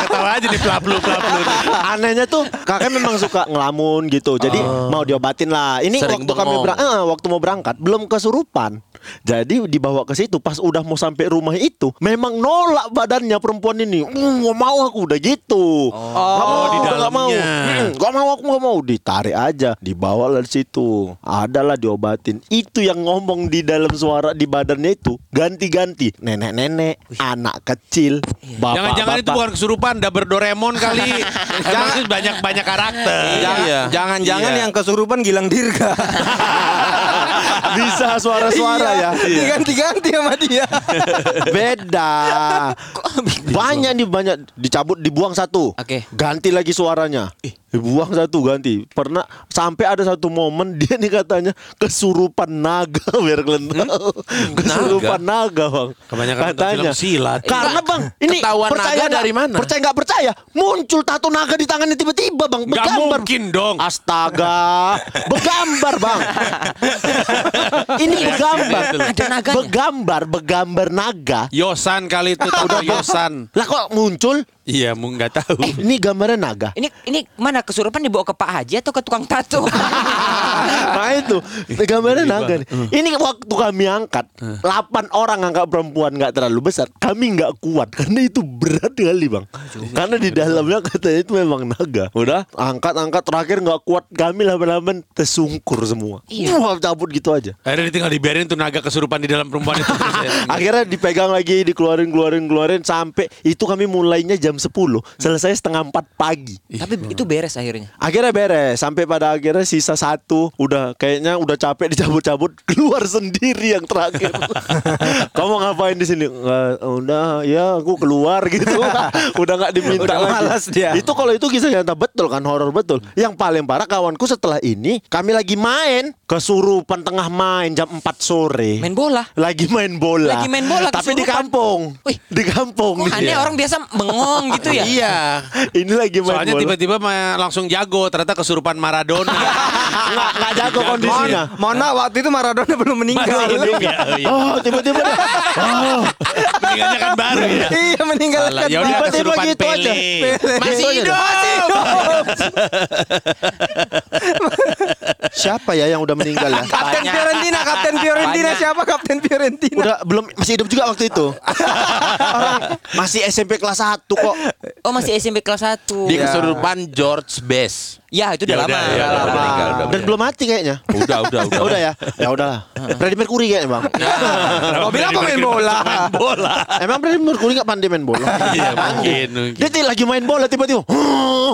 [SPEAKER 8] Ketawa aja di pelaplu pelaplu
[SPEAKER 7] Anehnya tuh kakek memang suka ngelamun gitu. Jadi
[SPEAKER 8] Oh.
[SPEAKER 7] mau diobatin lah. Ini
[SPEAKER 6] Sering
[SPEAKER 7] waktu kami
[SPEAKER 6] bengong.
[SPEAKER 7] berang- eh, waktu mau berangkat belum kesurupan. Jadi dibawa ke situ pas udah mau sampai rumah itu memang nolak badannya perempuan ini. "Mm, nggak mau aku udah gitu. Nggak mau,
[SPEAKER 8] Oh. di
[SPEAKER 7] udah nggak mau.
[SPEAKER 8] dalamnya.
[SPEAKER 7] Mm, nggak mau aku nggak mau ditarik aja. Dibawa lah di situ. Adalah diobatin. Itu yang ngomong di dalam suara di badannya itu ganti-ganti. Nenek-nenek, anak kecil, bapak-bapak.
[SPEAKER 8] Jangan-jangan itu bukan kesurupan Daber Doraemon kali Maksud banyak-banyak karakter Iya.
[SPEAKER 3] Jangan- Jangan-jangan yang kesurupan Gilang Dirga.
[SPEAKER 7] bisa suara-suara ya.
[SPEAKER 3] Diganti-ganti sama dia.
[SPEAKER 7] Beda. banyak nih banyak dicabut dibuang satu.
[SPEAKER 5] Oke.
[SPEAKER 7] Ganti lagi suaranya. Dibuang satu ganti. Pernah sampai ada satu momen dia nih katanya kesurupan naga biar kalian tahu. Kesurupan naga, Bang.
[SPEAKER 8] Kebanyakan nonton
[SPEAKER 7] katanya.
[SPEAKER 8] film silat.
[SPEAKER 7] Karena Bang, ini
[SPEAKER 6] Ketahuan naga
[SPEAKER 7] nggak-
[SPEAKER 6] dari mana?
[SPEAKER 7] Percaya nggak percaya? Muncul tato naga di tangannya tiba-tiba, Bang.
[SPEAKER 8] Nggak
[SPEAKER 7] Bergambar.
[SPEAKER 8] mungkin dong
[SPEAKER 7] Ah. Astaga, bergambar bang. Ini bergambar,
[SPEAKER 5] Ada naganya.
[SPEAKER 7] bergambar, bergambar iya. naga.
[SPEAKER 8] Yosan kali itu Udah Yosan
[SPEAKER 7] Lah kok muncul? Eh,
[SPEAKER 8] Iya mau nggak tahu
[SPEAKER 7] Ini gambarnya naga.
[SPEAKER 5] Ini ini mana kesurupan dibawa ke Pak Haji atau ke tukang tato?
[SPEAKER 7] Nah itu Ini Uh. gambarnya naga nih. Ini waktu kami angkat, 8 orang angkat perempuan nggak terlalu besar. Kami nggak kuat karena itu berat kali bang. Karena di dalamnya katanya itu memang naga. Udah angkat-angkat terakhir nggak kuat kami lama-lama tersungkur semua.
[SPEAKER 5] Iya.
[SPEAKER 7] Wah cabut gitu aja.
[SPEAKER 8] Akhirnya ditinggal dibiarin tuh naga kesurupan di dalam perempuan itu terus ya.
[SPEAKER 7] Akhirnya dipegang lagi, dikeluarin, keluarin, keluarin sampai itu kami mulainya jam 10, selesai setengah 4 pagi.
[SPEAKER 5] Tapi itu beres akhirnya.
[SPEAKER 7] Akhirnya beres, sampai pada akhirnya sisa satu udah kayaknya udah capek dicabut-cabut keluar sendiri yang terakhir. Kamu ngapain di sini? "Nggak, udah ya aku keluar gitu. udah nggak diminta
[SPEAKER 3] Udah
[SPEAKER 7] lagi.
[SPEAKER 3] malas dia.
[SPEAKER 7] Itu kalau itu kisah nyata betul kan horor betul. Yang paling parah kawanku setelah ini kami lagi main kesurupan tengah main jam 4 sore.
[SPEAKER 5] Main bola.
[SPEAKER 7] Lagi main bola.
[SPEAKER 5] Lagi main bola,
[SPEAKER 7] Tapi di
[SPEAKER 5] kesurupan.
[SPEAKER 7] kampung.
[SPEAKER 5] Wih.
[SPEAKER 7] Di kampung.
[SPEAKER 5] Kok aneh
[SPEAKER 7] Iya.
[SPEAKER 5] orang biasa bengong gitu ya?
[SPEAKER 6] Iya.
[SPEAKER 7] Ini lagi main
[SPEAKER 8] Soalnya
[SPEAKER 7] bola.
[SPEAKER 8] tiba-tiba ma- langsung jago Ternyata kesurupan Maradona
[SPEAKER 7] Nggak, nggak jago kondisinya.
[SPEAKER 3] Mohon maaf waktu itu Maradona belum meninggal.
[SPEAKER 8] Iya.
[SPEAKER 7] Oh, tiba-tiba. Oh,
[SPEAKER 8] Meninggalnya kan baru ya
[SPEAKER 3] iya meninggal
[SPEAKER 8] Salah, Ya yaudah
[SPEAKER 7] tiba-tiba
[SPEAKER 8] kesurupan
[SPEAKER 7] gitu
[SPEAKER 8] Pele
[SPEAKER 7] aja.
[SPEAKER 8] Masih hidup
[SPEAKER 7] Siapa ya yang udah meninggal ya?
[SPEAKER 3] Kapten
[SPEAKER 5] Banyak.
[SPEAKER 3] Fiorentina, Kapten Fiorentina
[SPEAKER 5] Banyak.
[SPEAKER 3] siapa Kapten Fiorentina?
[SPEAKER 7] Udah belum masih hidup juga waktu itu. Orang masih SMP kelas 1 kok.
[SPEAKER 5] Oh masih SMP kelas Iya. 1
[SPEAKER 6] Di kesurupan George Best.
[SPEAKER 5] Ya itu udah
[SPEAKER 8] Ya
[SPEAKER 5] lama
[SPEAKER 8] udah, ya
[SPEAKER 5] udah
[SPEAKER 8] udah,
[SPEAKER 5] lama.
[SPEAKER 6] meninggal, udah
[SPEAKER 7] Dan
[SPEAKER 6] meninggal.
[SPEAKER 7] belum mati kayaknya.
[SPEAKER 6] Udah, udah, udah.
[SPEAKER 7] Udah ya? Ya udahlah. Freddie Mercury kayaknya, Bang.
[SPEAKER 8] Nah.
[SPEAKER 3] Kau bilang pemain bola.
[SPEAKER 8] Bola.
[SPEAKER 7] Emang Freddie Mercury gak pandai main bola?
[SPEAKER 8] Iya, mungkin, mungkin.
[SPEAKER 7] Dia tuh lagi main bola tiba-tiba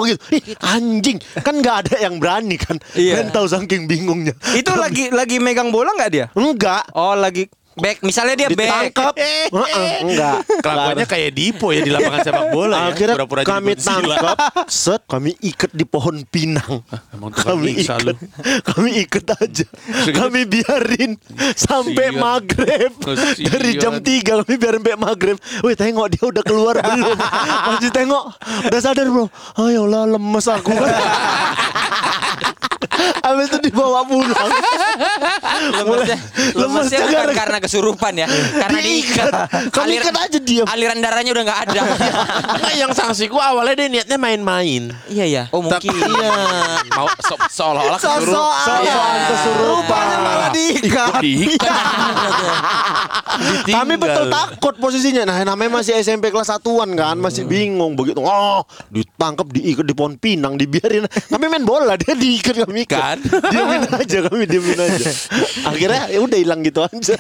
[SPEAKER 7] gitu. Ih, anjing kan nggak ada yang berani kan
[SPEAKER 3] Iya.
[SPEAKER 7] Kalian tahu saking bingungnya
[SPEAKER 3] Itu lagi lagi megang bola nggak dia?
[SPEAKER 7] enggak
[SPEAKER 3] Oh lagi back misalnya dia back.
[SPEAKER 7] ditangkap Heeh, enggak
[SPEAKER 8] Eh, Kelakuannya kayak Dipo ya di lapangan sepak bola ya.
[SPEAKER 7] akhirnya
[SPEAKER 8] Pura-pura jadi
[SPEAKER 7] kami
[SPEAKER 8] Godzilla.
[SPEAKER 7] tangkap set kami ikat di pohon pinang
[SPEAKER 8] Ah, emang tukang
[SPEAKER 7] kami
[SPEAKER 8] nyiksa
[SPEAKER 7] ikat
[SPEAKER 8] lu.
[SPEAKER 7] kami ikat aja kami biarin sampai
[SPEAKER 6] Kesian.
[SPEAKER 7] maghrib
[SPEAKER 6] Kesian.
[SPEAKER 7] dari jam 3 kami biarin sampai maghrib wih tengok dia udah keluar belum masih tengok udah sadar bro ayolah lemes aku Habis itu dibawa pulang
[SPEAKER 5] Lemesnya, lemesnya bukan
[SPEAKER 7] gara-
[SPEAKER 5] karena kesurupan ya Karena diikat
[SPEAKER 7] Diikat. Kami
[SPEAKER 5] Alir-
[SPEAKER 7] ikat aja diam.
[SPEAKER 5] Aliran darahnya udah gak ada
[SPEAKER 6] yang sanksiku awalnya dia niatnya main-main.
[SPEAKER 5] Iya ya Oh mungkin
[SPEAKER 6] Iya. Mau se- seolah-olah kesuruh.
[SPEAKER 7] Sosokan kesurupan
[SPEAKER 3] Malah diikat.
[SPEAKER 7] Iya. Kami betul takut posisinya. Nah, namanya masih SMP kelas satuan kan, masih bingung begitu. Oh, ditangkap diikat di pohon pinang, dibiarin. Kami main bola, dia diikat kami ikat.
[SPEAKER 6] Kan?
[SPEAKER 7] Diamin aja kami diamin aja. Akhirnya ya udah hilang gitu aja.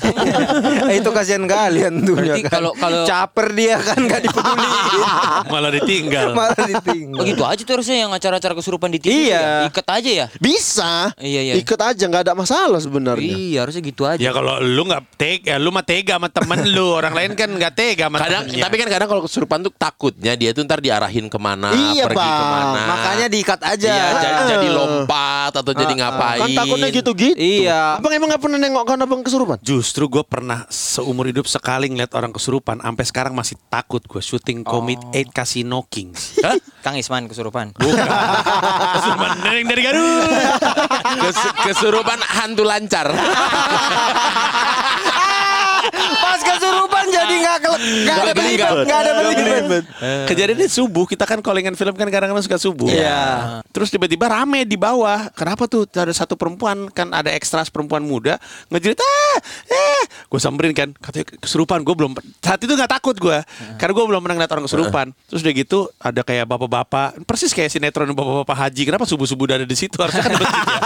[SPEAKER 3] Eh, itu kasihan kalian tuh ya
[SPEAKER 5] Berarti
[SPEAKER 3] kan.
[SPEAKER 5] kalau- kalau-
[SPEAKER 3] caper dia kan nggak dipeduliin
[SPEAKER 8] Malah ditinggal.
[SPEAKER 3] malah ditinggal.
[SPEAKER 5] Oh gitu aja tuh harusnya yang acara-acara kesurupan di TV ya.
[SPEAKER 3] Iya.
[SPEAKER 5] Ikat aja ya
[SPEAKER 7] Bisa.
[SPEAKER 5] Iya, iya.
[SPEAKER 7] Ikat aja nggak ada masalah sebenarnya.
[SPEAKER 5] Iya harusnya gitu aja
[SPEAKER 8] Ya kalau lu nggak tega, lu mah tega sama temen lu. Orang lain kan nggak tega sama
[SPEAKER 6] Kadang,
[SPEAKER 8] temennya.
[SPEAKER 6] tapi kan kadang kalau kesurupan tuh takutnya dia tuh ntar diarahin kemana,
[SPEAKER 7] Iya,
[SPEAKER 6] pergi
[SPEAKER 7] Bang.
[SPEAKER 6] kemana.
[SPEAKER 5] Nah.
[SPEAKER 3] Makanya diikat aja.
[SPEAKER 6] Iya, jadi,
[SPEAKER 7] Heeh.
[SPEAKER 6] jadi lompat atau jadi ngapain.
[SPEAKER 7] Kan takutnya gitu-gitu.
[SPEAKER 3] Iya.
[SPEAKER 7] Abang emang nggak pernah nengok kan abang kesurupan?
[SPEAKER 8] Justru gue pernah seumur hidup sekali ngeliat orang kesurupan, sampai sekarang masih takut gue syuting Commit 8 Casino Kings. Hah?
[SPEAKER 5] Kang Isman kesurupan
[SPEAKER 8] Bukan. Kesurupan nenek dari Garut.
[SPEAKER 6] Kes- kesurupan hantu lancar.
[SPEAKER 3] Pas kesurupan jadi nggak kele- nggak ada belibet, nggak ada belibet.
[SPEAKER 8] Eh. Kejadiannya subuh, kita kan callingan film kan kadang-kadang suka subuh.
[SPEAKER 3] Iya.
[SPEAKER 8] Terus tiba-tiba rame di bawah. Kenapa tuh? Ada satu perempuan kan ada ekstras perempuan muda ngejerit ah, eh, gue samperin kan. Katanya kesurupan. Gue belum saat itu nggak takut gue, karena gue belum pernah ngeliat orang kesurupan. Terus udah gitu ada kayak bapak-bapak, persis kayak sinetron bapak-bapak haji. Kenapa subuh-subuh udah ada di situ? Harusnya kan masjid ya.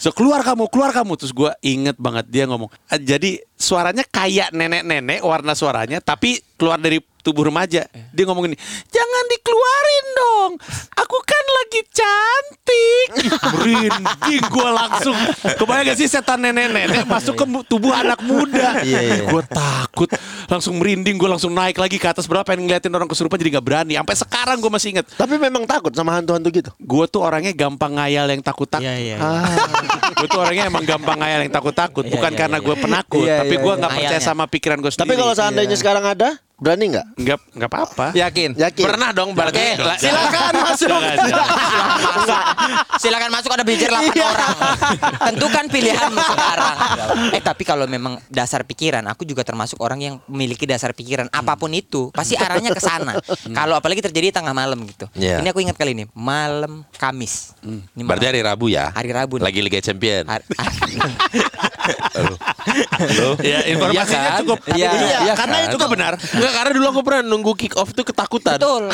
[SPEAKER 8] So keluar kamu, keluar kamu. Terus gue inget banget dia ngomong. "Ah, Jadi suaranya kayak nenek-nenek warna suaranya, tapi keluar dari tubuh remaja. Dia ngomong gini, jangan dikeluarin dong. Aku kan lagi cantik. Merinding gue langsung. Kebayang gak sih setan nenek-nenek masuk ke mu- tubuh anak muda. Gue takut. Langsung merinding gue langsung naik lagi ke atas berapa pengen ngeliatin orang kesurupan jadi gak berani. Sampai sekarang gue masih inget.
[SPEAKER 7] Tapi memang takut sama hantu-hantu gitu.
[SPEAKER 8] Gue tuh orangnya gampang ngayal yang takut-takut. gue tuh orangnya emang gampang ngayal yang takut-takut. Bukan karena gue penakut.
[SPEAKER 3] Iya,
[SPEAKER 8] tapi
[SPEAKER 3] iya,
[SPEAKER 8] gue
[SPEAKER 3] iya.
[SPEAKER 8] gak percaya
[SPEAKER 5] Ngayalnya.
[SPEAKER 8] sama pikiran gue
[SPEAKER 7] Tapi
[SPEAKER 8] sendiri. Iya.
[SPEAKER 7] kalau seandainya sekarang ada, berani nggak?
[SPEAKER 8] Nggak, nggak apa-apa.
[SPEAKER 3] Yakin.
[SPEAKER 7] Yakin?
[SPEAKER 6] Pernah dong berarti.
[SPEAKER 3] Silakan masuk.
[SPEAKER 5] Silakan masuk ada bicara 8
[SPEAKER 6] Iya.
[SPEAKER 5] orang Tentukan pilihanmu sekarang Eh tapi kalau memang dasar pikiran Aku juga termasuk orang yang memiliki dasar pikiran
[SPEAKER 6] Hmm.
[SPEAKER 5] Apapun itu Pasti arahnya ke sana Kalau apalagi terjadi tengah malam gitu
[SPEAKER 6] Iya. Hmm.
[SPEAKER 5] Ini aku ingat kali ini Malam Kamis Ini malam.
[SPEAKER 6] Berarti hari Rabu ya?
[SPEAKER 5] Hari Rabu nih.
[SPEAKER 6] Lagi Liga Champion.
[SPEAKER 5] Har-
[SPEAKER 8] Ya, informasinya
[SPEAKER 6] Iya kan?
[SPEAKER 8] cukup.
[SPEAKER 5] Iya,
[SPEAKER 6] iya
[SPEAKER 8] karena
[SPEAKER 6] kan?
[SPEAKER 8] itu kebenar.
[SPEAKER 6] Enggak karena dulu aku pernah nunggu kick off tuh ketakutan.
[SPEAKER 5] Betul.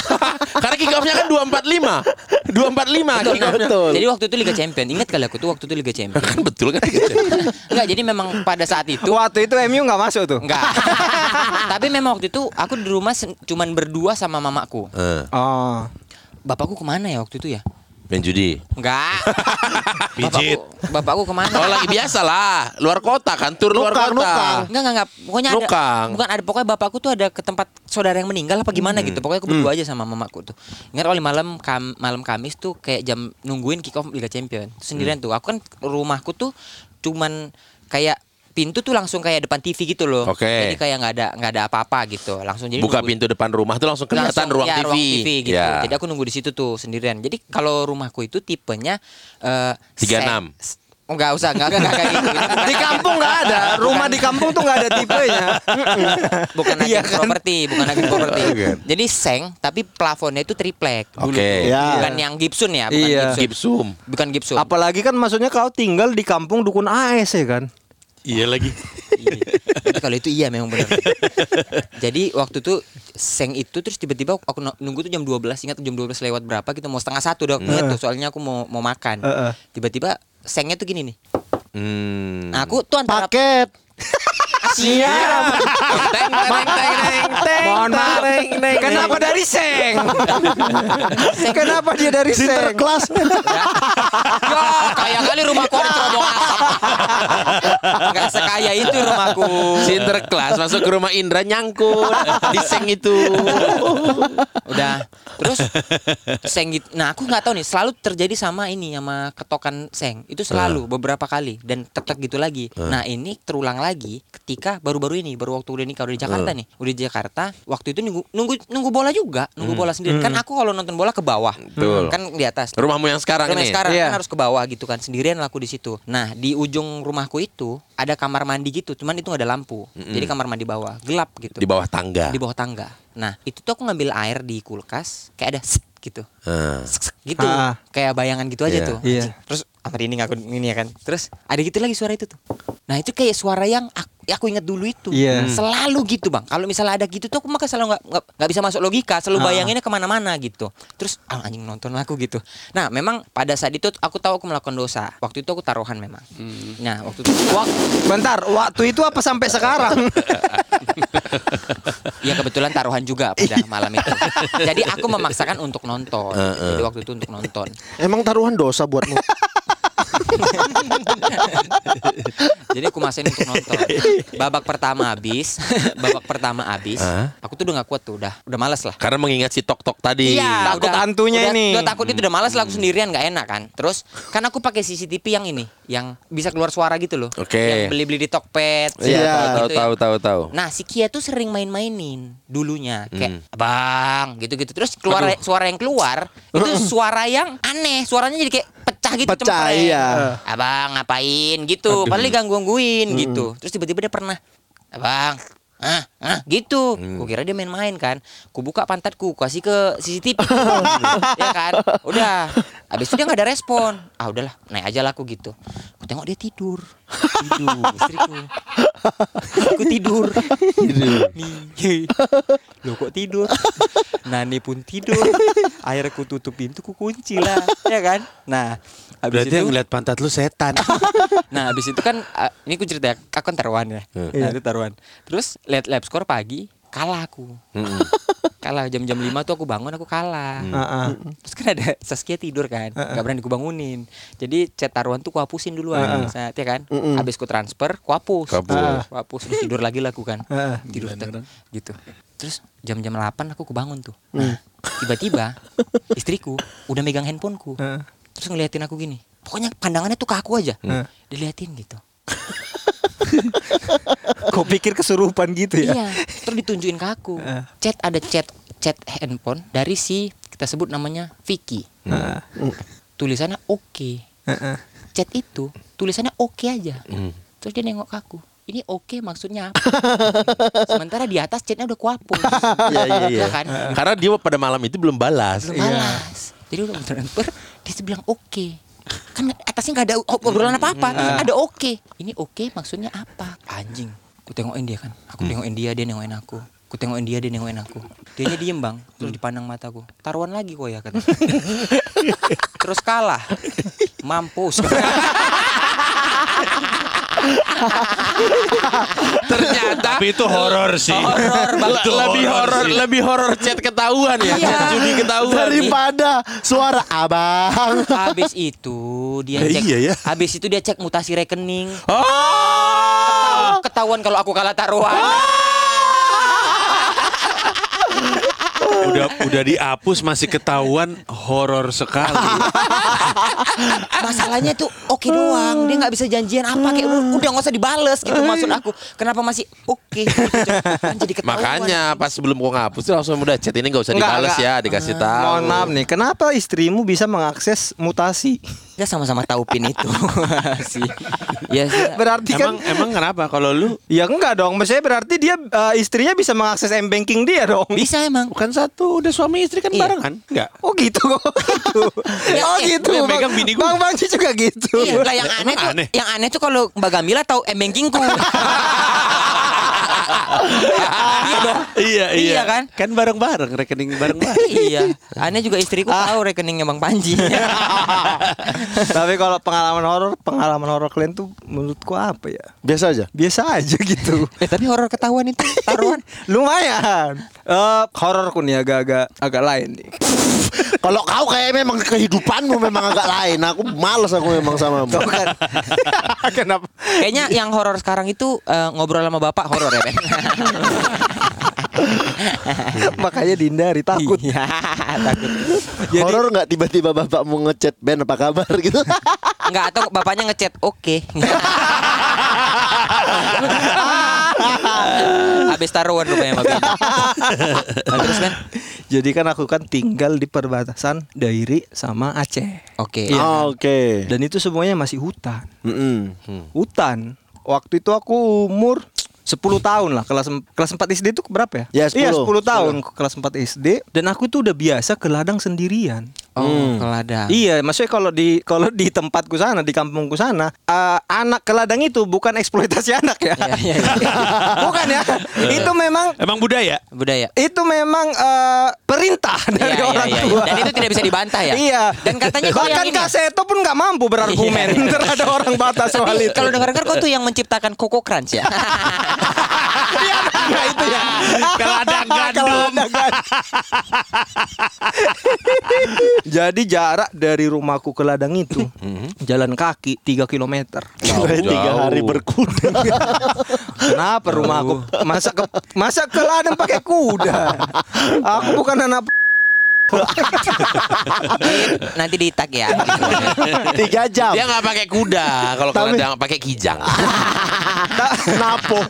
[SPEAKER 6] karena kick offnya kan 245. 245 kick offnya.
[SPEAKER 5] Jadi waktu itu Liga Champion Ingat kali aku tuh waktu itu Liga Champion
[SPEAKER 6] Kan betul kan Liga Champion.
[SPEAKER 5] Enggak jadi memang pada saat itu
[SPEAKER 3] Waktu itu MU nggak masuk tuh.
[SPEAKER 5] Enggak. Tapi memang waktu itu aku di rumah sen- cuman berdua sama mamaku.
[SPEAKER 6] Eh,
[SPEAKER 3] Oh.
[SPEAKER 5] Bapakku kemana ya waktu itu ya?
[SPEAKER 6] main judi.
[SPEAKER 5] Enggak.
[SPEAKER 8] Pijit.
[SPEAKER 5] Bapakku, bapakku kemana?
[SPEAKER 6] Oh lagi biasa lah, luar kota kan, tur luar
[SPEAKER 7] Nukang,
[SPEAKER 6] kota.
[SPEAKER 7] nukang.
[SPEAKER 5] Ah. Enggak, enggak, enggak. Pokoknya ada
[SPEAKER 6] Nukang. Hmm.
[SPEAKER 5] bukan ada pokoknya bapakku tuh ada ke tempat saudara yang meninggal apa gimana gitu. Pokoknya aku berdua aja sama mamaku tuh. Ingat kali malam kam- malam Kamis tuh kayak jam nungguin kick off Liga Champion. Sendirian
[SPEAKER 6] Hmm.
[SPEAKER 5] tuh. Aku kan rumahku tuh cuman kayak pintu tuh langsung kayak depan TV gitu loh.
[SPEAKER 6] Oke.
[SPEAKER 5] Jadi kayak nggak ada nggak ada apa-apa gitu. Langsung jadi
[SPEAKER 6] Buka
[SPEAKER 5] nungguin-
[SPEAKER 6] pintu depan rumah tuh langsung kelihatan
[SPEAKER 5] Langsung,
[SPEAKER 6] ruang,
[SPEAKER 5] ya,
[SPEAKER 6] TV.
[SPEAKER 5] gitu.
[SPEAKER 3] Iya.
[SPEAKER 6] Ya.
[SPEAKER 5] Jadi aku nunggu di situ tuh sendirian. Jadi kalau rumahku itu tipenya eh,
[SPEAKER 6] 36.
[SPEAKER 5] se- Enggak usah, enggak enggak kayak gitu.
[SPEAKER 3] Di kampung nggak ada, rumah di kampung tuh nggak ada tipenya.
[SPEAKER 5] bukan agen
[SPEAKER 3] Iya kan?
[SPEAKER 5] properti, bukan agen properti.
[SPEAKER 1] Bukan.
[SPEAKER 5] Jadi seng tapi plafonnya itu triplek.
[SPEAKER 1] Oke.
[SPEAKER 7] Ya.
[SPEAKER 5] Bukan yang Gibson ya, bukan
[SPEAKER 3] Iya.
[SPEAKER 5] Gibson.
[SPEAKER 6] Gipsum.
[SPEAKER 5] Bukan Gibson.
[SPEAKER 3] Apalagi kan maksudnya kau tinggal di kampung dukun AS ya kan?
[SPEAKER 6] Iya lagi.
[SPEAKER 5] Tapi kalau itu iya memang benar. Jadi waktu itu seng itu terus tiba-tiba aku no- nunggu tuh jam 12 ingat jam 12 lewat berapa kita mau setengah satu dok ingat tuh soalnya aku mau mau makan
[SPEAKER 3] Heeh.
[SPEAKER 5] tiba-tiba sengnya tuh gini nih
[SPEAKER 1] Hmm.
[SPEAKER 5] nah, aku tuh antara
[SPEAKER 7] Paket.
[SPEAKER 5] Teng, teng, teng, teng.
[SPEAKER 3] Mohon maaf. Kenapa dari seng? Kenapa dia dari seng?
[SPEAKER 7] Sinterklas.
[SPEAKER 5] Ya, kaya kali rumahku ada cerobong asap Gak sekaya itu rumahku
[SPEAKER 6] Sinterklas masuk ke rumah Indra nyangkut di seng itu.
[SPEAKER 5] Udah Terus Seng gitu Nah aku gak tahu nih Selalu terjadi sama ini Sama ketokan seng Itu selalu Beberapa kali Dan tetek gitu lagi Nah ini terulang lagi Ketika baru-baru ini Baru waktu udah nikah Udah di Jakarta nih Udah di Jakarta Waktu itu nunggu Nunggu, nunggu bola juga Nunggu bola sendiri Kan aku kalau nonton bola ke bawah
[SPEAKER 1] Betul.
[SPEAKER 5] Kan di atas
[SPEAKER 6] Rumahmu yang sekarang
[SPEAKER 5] Rumah
[SPEAKER 6] ini.
[SPEAKER 5] sekarang
[SPEAKER 3] Iya.
[SPEAKER 5] kan harus ke bawah gitu kan sendirian lah aku di situ. Nah di ujung rumahku itu ada kamar mandi gitu, cuman itu nggak ada lampu. Jadi kamar mandi bawah gelap gitu.
[SPEAKER 1] Di bawah tangga.
[SPEAKER 5] Di bawah tangga. Nah itu tuh aku ngambil air di kulkas, kayak ada set gitu,
[SPEAKER 1] Ah.
[SPEAKER 5] Set, set gitu,
[SPEAKER 3] Ah.
[SPEAKER 5] kayak bayangan gitu aja
[SPEAKER 1] Iya.
[SPEAKER 5] tuh.
[SPEAKER 3] Iya.
[SPEAKER 5] Anjing. Terus hari ini ngaku ini ya kan. Terus ada gitu lagi suara itu tuh. Nah itu kayak suara yang aku, aku ingat dulu itu.
[SPEAKER 3] Iya.
[SPEAKER 5] gitu. Selalu gitu bang. Kalau misalnya ada gitu tuh aku maka selalu nggak nggak- nggak bisa masuk logika. Selalu
[SPEAKER 3] Ah.
[SPEAKER 5] bayanginnya kemana-mana gitu. Terus ah, anjing nonton lah aku gitu. Nah memang pada saat itu aku tahu aku melakukan dosa. Waktu itu aku taruhan memang. Nah waktu itu
[SPEAKER 3] Wak- Bentar, waktu itu apa sampai sekarang?
[SPEAKER 5] ya kebetulan taruhan juga pada malam itu. Jadi aku memaksakan untuk nonton. Jadi waktu itu untuk nonton.
[SPEAKER 7] Emang taruhan dosa buatmu?
[SPEAKER 5] Jadi aku masain untuk nonton. Babak pertama habis, babak pertama habis.
[SPEAKER 1] Hah?
[SPEAKER 5] Aku tuh udah gak kuat tuh, udah udah malas lah.
[SPEAKER 6] Karena mengingat si tok tok tadi. Hmm.
[SPEAKER 5] Iya,
[SPEAKER 3] Takut hantunya
[SPEAKER 5] udah-
[SPEAKER 3] ini.
[SPEAKER 5] Udah takut itu udah malas lah aku sendirian nggak enak kan. Terus kan aku pakai CCTV yang ini, yang bisa keluar suara gitu loh.
[SPEAKER 1] Oke.
[SPEAKER 5] Yang beli-beli di
[SPEAKER 1] Iya,
[SPEAKER 5] Tokped. gitu
[SPEAKER 1] tahu
[SPEAKER 5] ya.
[SPEAKER 1] tahu tahu tahu.
[SPEAKER 5] Nah si Kia tuh sering main-mainin dulunya
[SPEAKER 7] Hmm.
[SPEAKER 5] kayak bang gitu-gitu terus keluar suara yang keluar itu suara yang aneh suaranya jadi kayak pecah gitu
[SPEAKER 7] Pecah,
[SPEAKER 5] cempreng. Eh,
[SPEAKER 7] iya.
[SPEAKER 5] abang ngapain gitu paling ganggu gangguin
[SPEAKER 7] Hmm.
[SPEAKER 5] gitu terus tiba-tiba dia pernah abang ah ah gitu
[SPEAKER 7] Hmm.
[SPEAKER 5] Gua kira dia main-main kan ku buka pantatku ku kasih ke CCTV ya kan udah Habis itu dia nggak ada respon ah udahlah naik aja lah aku gitu ku tengok dia tidur tidur istriku aku tidur. Nih. Lo kok tidur? Nani pun tidur. Akhirnya aku tutup pintu, ku kunci lah, ya kan? Nah, habis
[SPEAKER 8] Berarti yang
[SPEAKER 5] itu
[SPEAKER 8] ngeliat pantat lu setan.
[SPEAKER 5] nah habis itu kan ah, ini aku cerita aku kan taruhan ya. Nah, itu taruhan. Terus lihat lab skor pagi kalah aku. kalah jam-jam 5 tuh aku bangun aku kalah.
[SPEAKER 3] Heeh.
[SPEAKER 5] Terus kan ada Saskia tidur kan, nggak berani ku bangunin. Jadi chat taruhan tuh ku hapusin duluan, saat ya kan. Habis ku transfer, ku hapus.
[SPEAKER 1] Ku hapus.
[SPEAKER 5] Heeh. Ku hapus Terus tidur lagi lah aku kan.
[SPEAKER 3] Heeh.
[SPEAKER 5] Tidur tek, gitu. Terus jam-jam 8 aku kebangun tuh. Nah, tiba-tiba istriku udah megang handphoneku.
[SPEAKER 3] Heeh.
[SPEAKER 5] Terus ngeliatin aku gini. Pokoknya pandangannya tuh ke aku aja.
[SPEAKER 3] Heeh.
[SPEAKER 5] Diliatin gitu.
[SPEAKER 3] Kau pikir kesurupan gitu ya?
[SPEAKER 5] Iya. Terus ditunjukin ke aku.
[SPEAKER 3] Heeh.
[SPEAKER 5] Chat ada chat chat handphone dari si kita sebut namanya Vicky.
[SPEAKER 3] Heeh.
[SPEAKER 5] Tulisannya oke.
[SPEAKER 3] Heeh.
[SPEAKER 5] chat itu tulisannya oke aja.
[SPEAKER 6] Hmm.
[SPEAKER 5] Terus dia nengok ke aku. Ini oke maksudnya apa? Sementara di atas chatnya udah kuapus.
[SPEAKER 6] Iya, iya, iya.
[SPEAKER 5] Ya kan?
[SPEAKER 6] Karena dia pada malam itu belum balas. Iya.
[SPEAKER 5] Belum balas. Jadi udah transfer, dia tuh bilang oke. Kan atasnya nggak ada ob- obrolan apa-apa.
[SPEAKER 6] Hmm. Iya.
[SPEAKER 5] Ada oke. Ini oke maksudnya apa? Anjing. Ku tengokin dia kan.
[SPEAKER 6] Hmm.
[SPEAKER 5] Aku tengokin dia, dia nengokin aku. Ku tengokin dia, dia nengokin aku. Dianya diem bang.
[SPEAKER 6] Hmm.
[SPEAKER 5] Terus dipandang mataku. Taruhan lagi kok ya kata. Terus kalah. Mampus.
[SPEAKER 6] Ternyata
[SPEAKER 8] Tapi itu horor sih.
[SPEAKER 5] Horor banget.
[SPEAKER 8] Itu
[SPEAKER 6] lebih horor
[SPEAKER 8] sih.
[SPEAKER 6] lebih horor chat ketahuan ya.
[SPEAKER 5] Iya.
[SPEAKER 6] Chat judi ketahuan.
[SPEAKER 7] Daripada suara abang.
[SPEAKER 5] Habis itu dia
[SPEAKER 8] Ya
[SPEAKER 5] cek.
[SPEAKER 8] iya ya.
[SPEAKER 5] Habis itu dia cek mutasi rekening.
[SPEAKER 6] Oh.
[SPEAKER 5] Tahu ketahuan kalau aku kalah taruhan.
[SPEAKER 8] udah udah dihapus masih ketahuan horor sekali.
[SPEAKER 5] Masalahnya tuh oke doang. Dia nggak bisa janjian apa kayak "Ud- udah nggak usah dibales gitu maksud aku. Kenapa masih oke? gitu, kan jadi ketahuan.
[SPEAKER 6] Makanya pas sebelum gua ngapus tuh langsung udah chat ini Oh nggak Ah. usah
[SPEAKER 3] Nggak,
[SPEAKER 6] dibales
[SPEAKER 3] nggak.
[SPEAKER 6] ya dikasih tahu.
[SPEAKER 3] Mohon maaf nih, kenapa istrimu bisa mengakses mutasi?
[SPEAKER 5] Ya sama-sama tahu pin itu sih. Ya sih.
[SPEAKER 3] Berarti
[SPEAKER 8] Emang
[SPEAKER 3] kan
[SPEAKER 8] emang kenapa kalau lu
[SPEAKER 3] Ya enggak dong, maksudnya berarti dia eh, istrinya bisa mengakses m-banking dia dong.
[SPEAKER 5] Bisa emang.
[SPEAKER 8] bukan satu udah suami istri kan
[SPEAKER 5] Iya.
[SPEAKER 8] barengan? Enggak.
[SPEAKER 3] Oh gitu kok.
[SPEAKER 5] Ya,
[SPEAKER 3] oh
[SPEAKER 5] eh,
[SPEAKER 3] gitu.
[SPEAKER 8] gue yang
[SPEAKER 3] Bang,
[SPEAKER 8] pegang bini gue.
[SPEAKER 3] Bang Panji juga gitu.
[SPEAKER 5] Iya, lah yang aneh
[SPEAKER 8] Emang
[SPEAKER 5] tuh,
[SPEAKER 8] aneh?
[SPEAKER 5] yang aneh tuh kalau Mbak Gamila tahu embengkingku. iya dong.
[SPEAKER 8] Iya,
[SPEAKER 5] Iya kan?
[SPEAKER 8] Kan bareng-bareng rekening bareng-bareng.
[SPEAKER 5] iya, aneh juga istriku tahu rekeningnya Bang Panji.
[SPEAKER 3] Tapi kalau pengalaman horor, pengalaman horor kalian tuh menurutku apa ya?
[SPEAKER 7] Biasa aja.
[SPEAKER 3] Biasa aja gitu.
[SPEAKER 5] eh, tapi horor ketahuan itu taruhan.
[SPEAKER 3] Lumayan. Eh hororku nih agak-agak agak lain nih.
[SPEAKER 7] Kalau kau kayak memang kehidupanmu memang agak lain. Aku males aku memang sama kamu.
[SPEAKER 3] kan. Kenapa?
[SPEAKER 5] Kayaknya yang horor sekarang itu eh, ngobrol sama bapak horor ya, Ben.
[SPEAKER 3] Makanya dihindari takut.
[SPEAKER 5] Iya, takut.
[SPEAKER 7] Horor nggak tiba-tiba bapakmu ngechat Ben apa kabar gitu.
[SPEAKER 5] Enggak atau bapaknya ngechat oke. Habis taruhan rupanya Mbak Ben. Nah, terus Ben.
[SPEAKER 3] Jadi kan aku kan tinggal di perbatasan Dairi sama Aceh.
[SPEAKER 5] Oke.
[SPEAKER 7] Ah, Oke.
[SPEAKER 3] Dan itu semuanya masih hutan.
[SPEAKER 7] Mm-mm.
[SPEAKER 3] Hutan. Waktu itu aku umur 10 tahun lah kelas em- kelas 4 SD itu berapa
[SPEAKER 7] Ya,
[SPEAKER 3] ya?
[SPEAKER 7] 10.
[SPEAKER 3] Iya, 10 tahun kelas 4 SD dan aku tuh udah biasa ke ladang sendirian.
[SPEAKER 5] Oh, ke ladang.
[SPEAKER 3] Iya, maksudnya kalau di kalau di tempatku sana, di kampungku sana, eh, anak ke ladang itu bukan eksploitasi anak ya.
[SPEAKER 5] Iya, iya, iya.
[SPEAKER 3] bukan ya. itu memang
[SPEAKER 8] Emang budaya?
[SPEAKER 5] Budaya.
[SPEAKER 3] itu memang eh, perintah
[SPEAKER 5] Iya,
[SPEAKER 3] dari
[SPEAKER 5] iya,
[SPEAKER 3] orang
[SPEAKER 5] iya, iya.
[SPEAKER 3] tua.
[SPEAKER 5] Dan itu tidak bisa dibantah ya?
[SPEAKER 3] Iya.
[SPEAKER 5] Dan katanya kalau yang
[SPEAKER 3] bahkan
[SPEAKER 5] ini ya?
[SPEAKER 3] Kak Seto pun nggak mampu berargumen terhadap orang batas soal
[SPEAKER 5] Tapi
[SPEAKER 3] itu.
[SPEAKER 5] kalau dengar-dengar kau tuh yang menciptakan Coco Crunch ya? Iya,
[SPEAKER 8] Nah, itu ya. Ah, Kalau ada gandum.
[SPEAKER 3] Jadi jarak dari rumahku ke ladang itu
[SPEAKER 7] Mhm.
[SPEAKER 3] jalan kaki 3 km.
[SPEAKER 7] Tiga hari berkuda.
[SPEAKER 3] Kenapa rumah aku masa ke masa ke ladang pakai kuda? Aku bukan anak p-
[SPEAKER 5] Nanti di tag ya.
[SPEAKER 7] Tiga jam.
[SPEAKER 6] Dia nggak pakai kuda kalau kalau
[SPEAKER 7] Tapi-
[SPEAKER 6] ada pakai kijang.
[SPEAKER 7] Napo.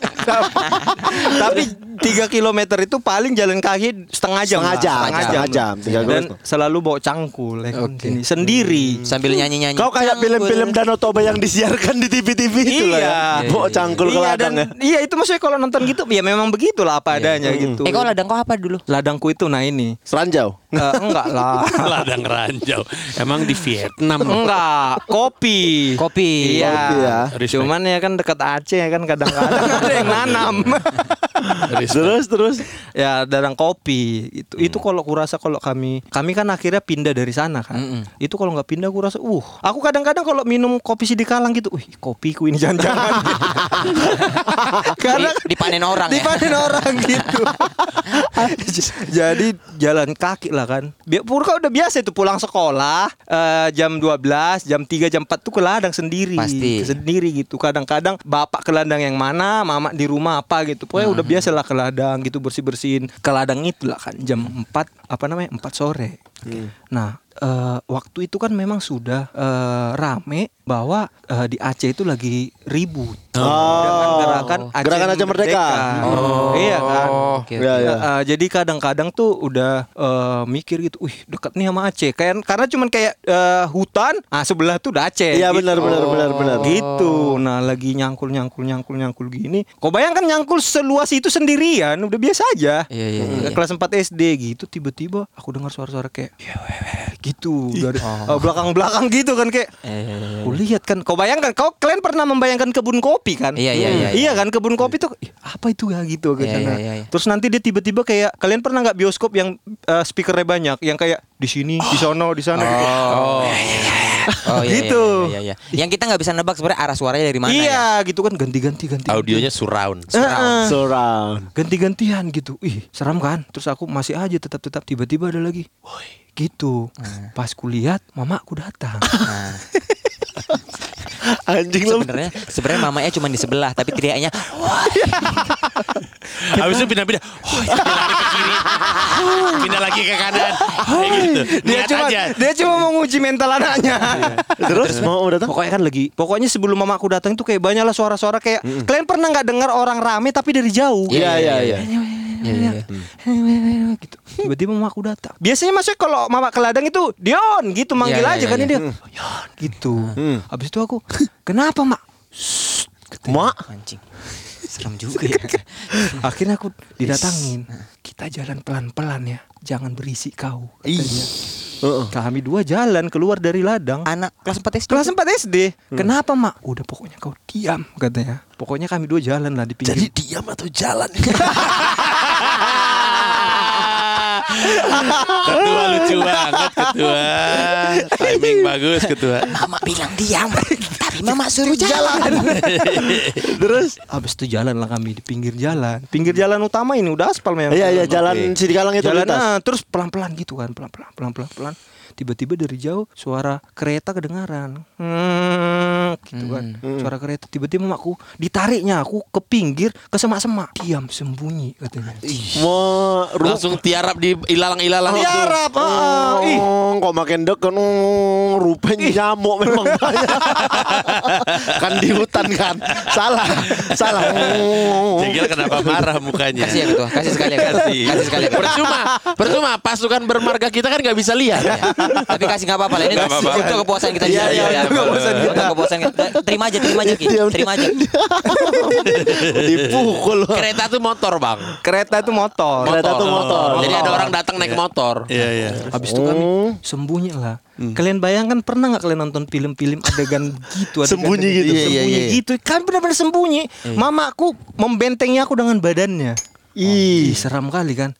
[SPEAKER 3] tapi 3 km itu paling jalan kaki setengah jam.
[SPEAKER 7] Setengah
[SPEAKER 3] lah.
[SPEAKER 7] jam, setengah jam, Iya, tiga
[SPEAKER 3] Dan
[SPEAKER 7] kilo.
[SPEAKER 3] selalu bawa cangkul ya, gini, sendiri.
[SPEAKER 7] Hmm.
[SPEAKER 5] Sambil nyanyi-nyanyi.
[SPEAKER 7] Kau kayak film-film Danau Toba yang disiarkan di TV-TV itu lah ya.
[SPEAKER 3] Iya.
[SPEAKER 7] Bawa cangkul ke
[SPEAKER 3] Iya, dan-
[SPEAKER 7] ladang ya. Iya. Hmm.
[SPEAKER 3] Iya, itu maksudnya kalau nonton gitu ya memang begitulah apa adanya gitu.
[SPEAKER 5] Eh kau ladang kau apa dulu?
[SPEAKER 3] ladangku itu nah ini.
[SPEAKER 7] Seranjau.
[SPEAKER 3] Eh, enggak lah.
[SPEAKER 8] Ladang ranjau. Emang di Vietnam.
[SPEAKER 5] Oh,
[SPEAKER 3] Enggak, kopi.
[SPEAKER 5] Kopi.
[SPEAKER 3] Iya.
[SPEAKER 7] Kopi ya.
[SPEAKER 8] Respect.
[SPEAKER 3] Cuman ya kan dekat Aceh kan kadang-kadang ada yang nanam.
[SPEAKER 7] Terus terus.
[SPEAKER 3] ya, dadang kopi itu. Itu kalau kurasa kalau kami kami kan akhirnya pindah dari sana kan. Itu kalau nggak pindah kurasa uh, aku kadang-kadang kalau minum kopi sidikalang gitu, wih, kopiku ini jangan-jangan. Karena
[SPEAKER 5] Di- dipanen orang ya?
[SPEAKER 3] Dipanen orang gitu. Jadi jalan kaki lah kan. Bi- Purka udah biasa itu pulang sekolah eh, jam 12, jam 3, jam 4 tuh ke ladang sendiri.
[SPEAKER 5] Pasti.
[SPEAKER 3] Sendiri gitu. Kadang-kadang bapak ke ladang yang mana, mama di rumah apa gitu. Pokoknya udah biasa lah ke ladang gitu bersih-bersihin. Ke ladang itu lah kan jam 4 apa namanya? 4 sore. Nah, eh, waktu itu kan memang sudah eh, rame bahwa eh, di Aceh itu lagi ribut dengan gerakan Aceh
[SPEAKER 7] Oh. Gerakan Aceh Merdeka. Oh.
[SPEAKER 3] Iya kan.
[SPEAKER 5] Oke,
[SPEAKER 7] Ya ya.
[SPEAKER 3] Eh, eh, jadi kadang-kadang tuh udah eh, mikir gitu, wih deket nih sama Aceh, kayak karena cuman kayak eh, hutan, ah sebelah tuh udah Aceh.
[SPEAKER 7] Iya
[SPEAKER 3] gitu.
[SPEAKER 7] benar benar benar benar.
[SPEAKER 3] Gitu. Nah, lagi nyangkul nyangkul nyangkul nyangkul gini. Kau bayangkan nyangkul seluas itu sendirian, udah biasa aja.
[SPEAKER 5] Iya, iya, iya.
[SPEAKER 3] Kelas 4 SD gitu tiba-tiba aku dengar suara-suara kayak "Yewewe," gitu dari
[SPEAKER 5] oh.
[SPEAKER 3] eh, belakang-belakang gitu kan kayak
[SPEAKER 5] Eh,
[SPEAKER 3] Aku lihat kan, kau bayangkan, kau kalian pernah membayangkan kebun kopi kan?
[SPEAKER 5] Iya, iya, iya, iya.
[SPEAKER 3] kan kebun kopi tuh "Ih, apa itu ya gitu
[SPEAKER 5] Iya,
[SPEAKER 3] kan.
[SPEAKER 5] iya,
[SPEAKER 3] Nah,
[SPEAKER 5] iya, iya.
[SPEAKER 3] Terus nanti dia tiba-tiba kayak kalian pernah nggak bioskop yang eh, speakernya banyak, yang kayak di sini, di sono, di sana. gitu.
[SPEAKER 5] Oh. Oh, iya,
[SPEAKER 3] Gitu.
[SPEAKER 5] Iya, iya, iya. Yang kita nggak bisa nebak sebenarnya arah suaranya dari mana
[SPEAKER 3] iya,
[SPEAKER 5] ya.
[SPEAKER 3] gitu kan ganti-ganti ganti.
[SPEAKER 6] Audionya surround.
[SPEAKER 7] Ah.
[SPEAKER 3] Heeh.
[SPEAKER 7] Surround.
[SPEAKER 3] ganti-gantian gitu. Ih, seram kan? Terus aku masih aja tetap-tetap tiba-tiba ada lagi. Woi, gitu.
[SPEAKER 5] Eh.
[SPEAKER 3] Pas kulihat mamaku datang.
[SPEAKER 5] Nah,
[SPEAKER 7] Anjing lu.
[SPEAKER 5] sebenarnya sebenarnya mamanya cuma di sebelah tapi teriaknya
[SPEAKER 8] Habis itu pindah-pindah. Oh, iya, lari ke kiri. Pindah lagi ke kanan. Kayak gitu.
[SPEAKER 3] dia
[SPEAKER 8] Lihat
[SPEAKER 3] cuma
[SPEAKER 8] aja.
[SPEAKER 3] dia cuma mau nguji mental anaknya.
[SPEAKER 7] Terus mau datang?
[SPEAKER 3] Iya. Pokoknya kan lagi Pokoknya sebelum mamaku datang tuh kayak banyaklah suara-suara kayak Kalian pernah nggak dengar orang rame tapi dari jauh
[SPEAKER 7] Iya iya iya.
[SPEAKER 3] gitu tiba-tiba mamaku datang biasanya maksudnya kalau mama ke ladang itu Dion gitu manggil
[SPEAKER 5] Iya, iya,
[SPEAKER 3] aja kan
[SPEAKER 5] iya.
[SPEAKER 3] dia Dion gitu habis itu aku kenapa mak
[SPEAKER 7] Mak,
[SPEAKER 5] "Oh, Anjing. Serem juga ya.
[SPEAKER 3] akhirnya aku didatangin kita jalan pelan-pelan ya jangan berisik kau katanya kami dua jalan keluar dari ladang
[SPEAKER 5] Anak kelas ya? 4 SD.
[SPEAKER 3] kelas 4 SD kenapa mak udah pokoknya kau diam katanya Hmm. pokoknya kami dua jalan lah di pinggir
[SPEAKER 6] diam atau jalan?
[SPEAKER 8] Ketua lucu banget ketua. Timing bagus ketua.
[SPEAKER 5] Mama bilang diam, tapi mama suruh jalan.
[SPEAKER 3] Terus habis itu jalan lah kami di pinggir jalan. Pinggir jalan utama ini udah aspal memang.
[SPEAKER 7] iya iya jalan Sidikalang itu
[SPEAKER 3] Jalan,
[SPEAKER 7] lintas.
[SPEAKER 3] ah, terus pelan-pelan gitu kan, pelan-pelan, pelan-pelan, pelan. Tiba-tiba dari jauh suara kereta kedengaran. Hmm, gitu kan. Suara kereta tiba-tiba makku ditariknya aku ke pinggir ke semak-semak. Diam sembunyi katanya.
[SPEAKER 7] Wah, rumah
[SPEAKER 6] Langsung tiarap di ilalang-ilalang itu.
[SPEAKER 7] Tiarap, ah,
[SPEAKER 3] ih.
[SPEAKER 7] oh, kok makin deket, oh, rupanya nyamuk memang banyak. kan di hutan kan, salah, salah. Oh.
[SPEAKER 8] Jengkel kenapa marah mukanya?
[SPEAKER 5] Kasih ya ketua, kasih sekali ya ketua.
[SPEAKER 8] Kasih.
[SPEAKER 5] Kasih sekali ya ketua.
[SPEAKER 6] Percuma, percuma pasukan bermarga kita kan nggak bisa lihat.
[SPEAKER 5] Ya. Tapi kasih nggak apa-apa lah ini
[SPEAKER 8] Nggak apa-apa.
[SPEAKER 5] untuk kepuasan kita
[SPEAKER 8] Iya, iya, iya,
[SPEAKER 5] Untuk kepuasan kita. Untuk kepuasan kita. Terima aja, terima aja Ki.
[SPEAKER 7] Diam.
[SPEAKER 5] Terima aja.
[SPEAKER 7] Dipukul.
[SPEAKER 6] Kereta tuh motor bang.
[SPEAKER 3] Kereta itu motor.
[SPEAKER 7] Kereta tuh motor.
[SPEAKER 3] Oh,
[SPEAKER 6] Jadi ada orang datang naik motor.
[SPEAKER 8] Iya iya.
[SPEAKER 3] Habis itu kan kami
[SPEAKER 7] Hmm.
[SPEAKER 3] sembunyi lah. Kalian bayangkan pernah nggak kalian nonton film-film adegan gitu, adegan
[SPEAKER 7] Sembunyi
[SPEAKER 3] adegan
[SPEAKER 7] gitu.
[SPEAKER 3] sembunyi
[SPEAKER 7] Iya, iya, iya.
[SPEAKER 3] gitu. Kan benar-benar sembunyi. Mamaku membentengi aku dengan badannya. Ih, seram kali kan.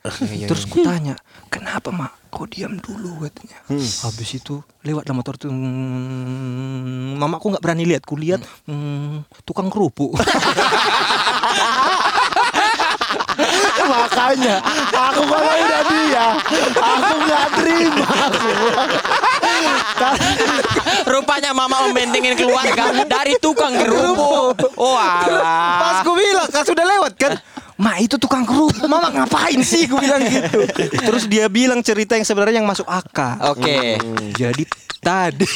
[SPEAKER 3] Terus ku tanya, "Kenapa, Mak? Kau diam dulu?" katanya. Habis itu lewat lah motor tuh. Hmm, mamaku nggak berani lihat, ku lihat hmm, tukang kerupuk.
[SPEAKER 7] Ya, Makanya aku kalau udah dia, aku nggak terima. Aku.
[SPEAKER 5] Rupanya mama membentengin keluarga dari tukang kerupuk. Oh
[SPEAKER 3] Pas
[SPEAKER 5] alah.
[SPEAKER 3] gue bilang kan sudah lewat kan. Ma itu tukang kerupuk, mama ngapain sih gue bilang gitu. Terus dia bilang cerita yang sebenarnya yang masuk akal.
[SPEAKER 5] Oke.
[SPEAKER 3] Jadi tadi,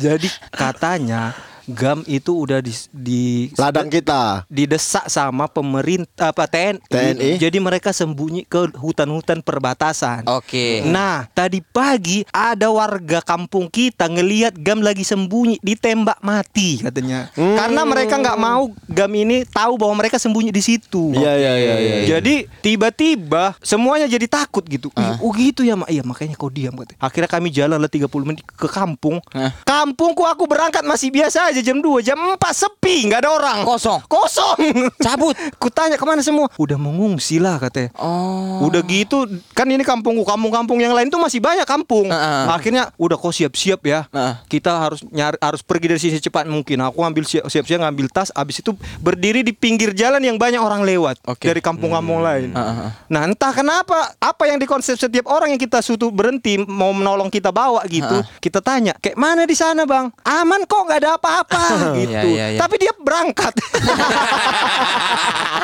[SPEAKER 3] jadi katanya gam itu udah di, di
[SPEAKER 7] Ladang kita.
[SPEAKER 3] didesak sama pemerintah apa TNI.
[SPEAKER 7] TNI.
[SPEAKER 3] Jadi mereka sembunyi ke hutan-hutan perbatasan.
[SPEAKER 5] Oke.
[SPEAKER 3] Nah, tadi pagi ada warga kampung kita ngelihat Gam lagi sembunyi ditembak mati katanya.
[SPEAKER 7] Hmm.
[SPEAKER 3] Karena mereka nggak mau Gam ini tahu bahwa mereka sembunyi di situ.
[SPEAKER 7] Iya iya iya. iya.
[SPEAKER 3] Jadi tiba-tiba semuanya jadi takut gitu. Ih, Oh gitu ya, Mak. Iya, makanya kau diam katanya. Akhirnya kami jalan lah 30 menit ke kampung.
[SPEAKER 5] Ah.
[SPEAKER 3] Kampungku aku berangkat masih biasa aja jam 2, jam 4 sepi, nggak ada orang.
[SPEAKER 5] Kosong.
[SPEAKER 3] Kosong.
[SPEAKER 5] Cabut.
[SPEAKER 3] Ku tanya kemana semua? Udah mengungsi lah katanya.
[SPEAKER 5] Oh.
[SPEAKER 3] Udah gitu kan ini kampungku, kampung-kampung yang lain tuh masih banyak kampung.
[SPEAKER 5] Heeh.
[SPEAKER 3] Akhirnya udah kok siap-siap ya.
[SPEAKER 5] Heeh.
[SPEAKER 3] Kita harus nyari harus pergi dari sini cepat mungkin. Aku ambil siap- siap-siap ngambil tas habis itu berdiri di pinggir jalan yang banyak orang lewat
[SPEAKER 5] Oke. Hmm.
[SPEAKER 3] dari kampung-kampung lain.
[SPEAKER 5] Heeh.
[SPEAKER 3] Nah, entah kenapa apa yang dikonsep setiap orang yang kita sutu berhenti mau menolong kita bawa gitu, kita tanya, "Kayak mana di sana, Bang? Aman kok nggak ada apa-apa." gitu.
[SPEAKER 5] Iya, iya, iya.
[SPEAKER 3] Tapi dia berangkat.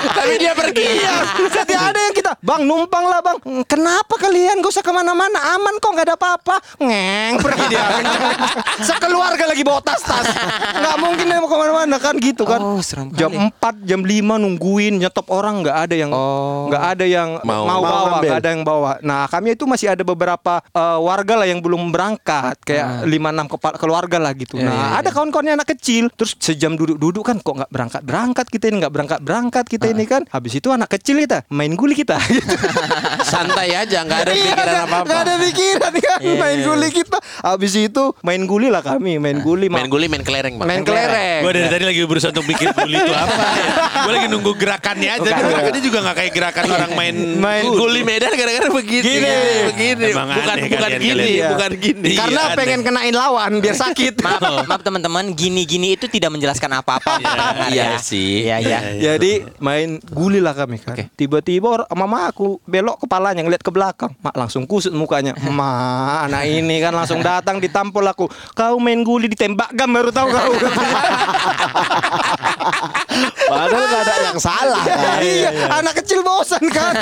[SPEAKER 6] Tapi dia pergi.
[SPEAKER 3] Iya, jadi ada yang kita, bang numpang lah bang. "Mm, Kenapa kalian gak usah kemana-mana? Aman kok nggak ada apa-apa. Ngeng pergi dia. Sekeluarga lagi bawa tas-tas. Nggak mungkin dia mau kemana-mana kan gitu kan.
[SPEAKER 5] Oh, serem
[SPEAKER 3] jam
[SPEAKER 5] kali.
[SPEAKER 3] 4 jam 5 nungguin nyetop orang nggak ada yang nggak ada yang mau,
[SPEAKER 7] Mau
[SPEAKER 6] Mau.
[SPEAKER 3] bawa
[SPEAKER 7] ngambil.
[SPEAKER 3] nggak ada yang bawa. Nah kami itu masih ada beberapa eh, warga lah yang belum berangkat
[SPEAKER 6] Ah.
[SPEAKER 3] kayak lima enam kepa- keluarga lah gitu.
[SPEAKER 6] Iya,
[SPEAKER 3] nah ada kawan-kawannya anak kecil terus sejam duduk-duduk kan kok nggak berangkat berangkat kita ini nggak berangkat berangkat kita
[SPEAKER 6] Ah.
[SPEAKER 3] ini kan. Habis itu anak kecil kita main guli kita.
[SPEAKER 6] Santai aja, nggak ada
[SPEAKER 3] Iya,
[SPEAKER 6] pikiran
[SPEAKER 3] nggak-
[SPEAKER 6] apa-apa. Iya,
[SPEAKER 3] nggak ada pikiran kan main guli kita. Habis itu main guli lah kami main guli
[SPEAKER 6] Main
[SPEAKER 3] main,
[SPEAKER 6] guli, main kelereng Iya. bang.
[SPEAKER 3] main kelereng.
[SPEAKER 8] Gue dari tadi lagi berusaha untuk mikir bully itu apa ya. Gue lagi nunggu gerakannya aja. Tapi gerakannya juga gak kayak gerakan orang main
[SPEAKER 6] Main guli Medan gara-gara begini. Iya,
[SPEAKER 3] Gini.
[SPEAKER 6] begini.
[SPEAKER 8] Emang
[SPEAKER 6] bukan
[SPEAKER 8] aneh
[SPEAKER 6] bukan
[SPEAKER 8] kalian,
[SPEAKER 6] gini,
[SPEAKER 8] kalian.
[SPEAKER 6] bukan gini.
[SPEAKER 8] Iya,
[SPEAKER 3] Karena
[SPEAKER 8] aneh.
[SPEAKER 3] pengen kenain lawan biar sakit.
[SPEAKER 5] Maaf, maaf teman-teman, gini-gini itu tidak menjelaskan apa-apa.
[SPEAKER 6] Iya sih.
[SPEAKER 5] Iya, iya.
[SPEAKER 3] Jadi main guli lah kami kan. Tiba-tiba or- mama aku belok kepalanya ngeliat ke belakang. Mak langsung kusut mukanya. Ma, anak ini kan langsung datang ditampol aku. Kau main guli ditembak gam baru tahu kau.
[SPEAKER 7] Padahal nggak ada yang salah. Kan?
[SPEAKER 3] iya, anak kecil bosan kan.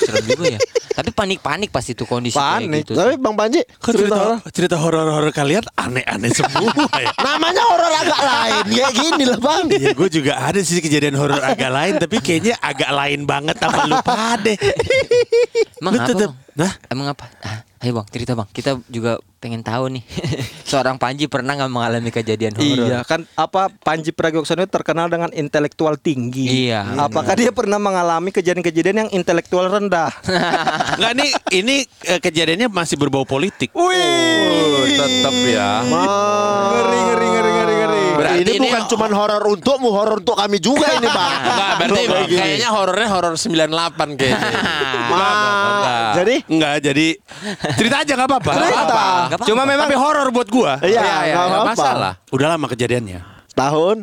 [SPEAKER 5] Serem juga ya. Tapi panik-panik pasti tuh kondisi
[SPEAKER 3] Panik.
[SPEAKER 5] kayak gitu.
[SPEAKER 7] Tapi Bang Panji
[SPEAKER 8] Kok cerita horor- cerita horor-horor kalian aneh-aneh semua ya.
[SPEAKER 7] namanya horor agak lain ya gini lah Bang.
[SPEAKER 8] Iya gue juga ada sih kejadian horor agak lain Tapi kayaknya agak lain banget sama lu pade
[SPEAKER 5] Emang
[SPEAKER 8] Lu
[SPEAKER 5] apa? bang?
[SPEAKER 8] tetep- Hah?
[SPEAKER 5] Emang apa? Ah, ayo bang, cerita bang. Kita juga pengen tahu nih. Seorang Panji pernah nggak mengalami kejadian horor?
[SPEAKER 3] Iya kan apa Panji Pragiwaksono itu terkenal dengan intelektual tinggi.
[SPEAKER 5] Iya.
[SPEAKER 3] Apakah dia pernah mengalami kejadian-kejadian yang intelektual rendah?
[SPEAKER 8] Enggak nih ini eh, kejadiannya masih berbau politik
[SPEAKER 6] Oh, tetap ya.
[SPEAKER 3] ngeri ngeri ngeri ngeri ngeri.
[SPEAKER 6] Berarti
[SPEAKER 7] Ah. ini,
[SPEAKER 6] ini-
[SPEAKER 7] bukan cuman horor untukmu, horor untuk kami juga ini, Bang.
[SPEAKER 6] Enggak, berarti
[SPEAKER 7] Kayak gini.
[SPEAKER 6] kayaknya horornya horor 98 kayaknya. Enggak.
[SPEAKER 7] Ah, jadi
[SPEAKER 8] Enggak jadi cerita aja gak apa-apa
[SPEAKER 7] cerita.
[SPEAKER 5] Nggak apa-apa.
[SPEAKER 8] Cuma memang Tapi horor buat gua
[SPEAKER 7] Iya,
[SPEAKER 6] Ya, ya,
[SPEAKER 7] nggak
[SPEAKER 6] nggak
[SPEAKER 7] apa-apa.
[SPEAKER 6] masalah.
[SPEAKER 8] Udah lama kejadiannya
[SPEAKER 7] Tahun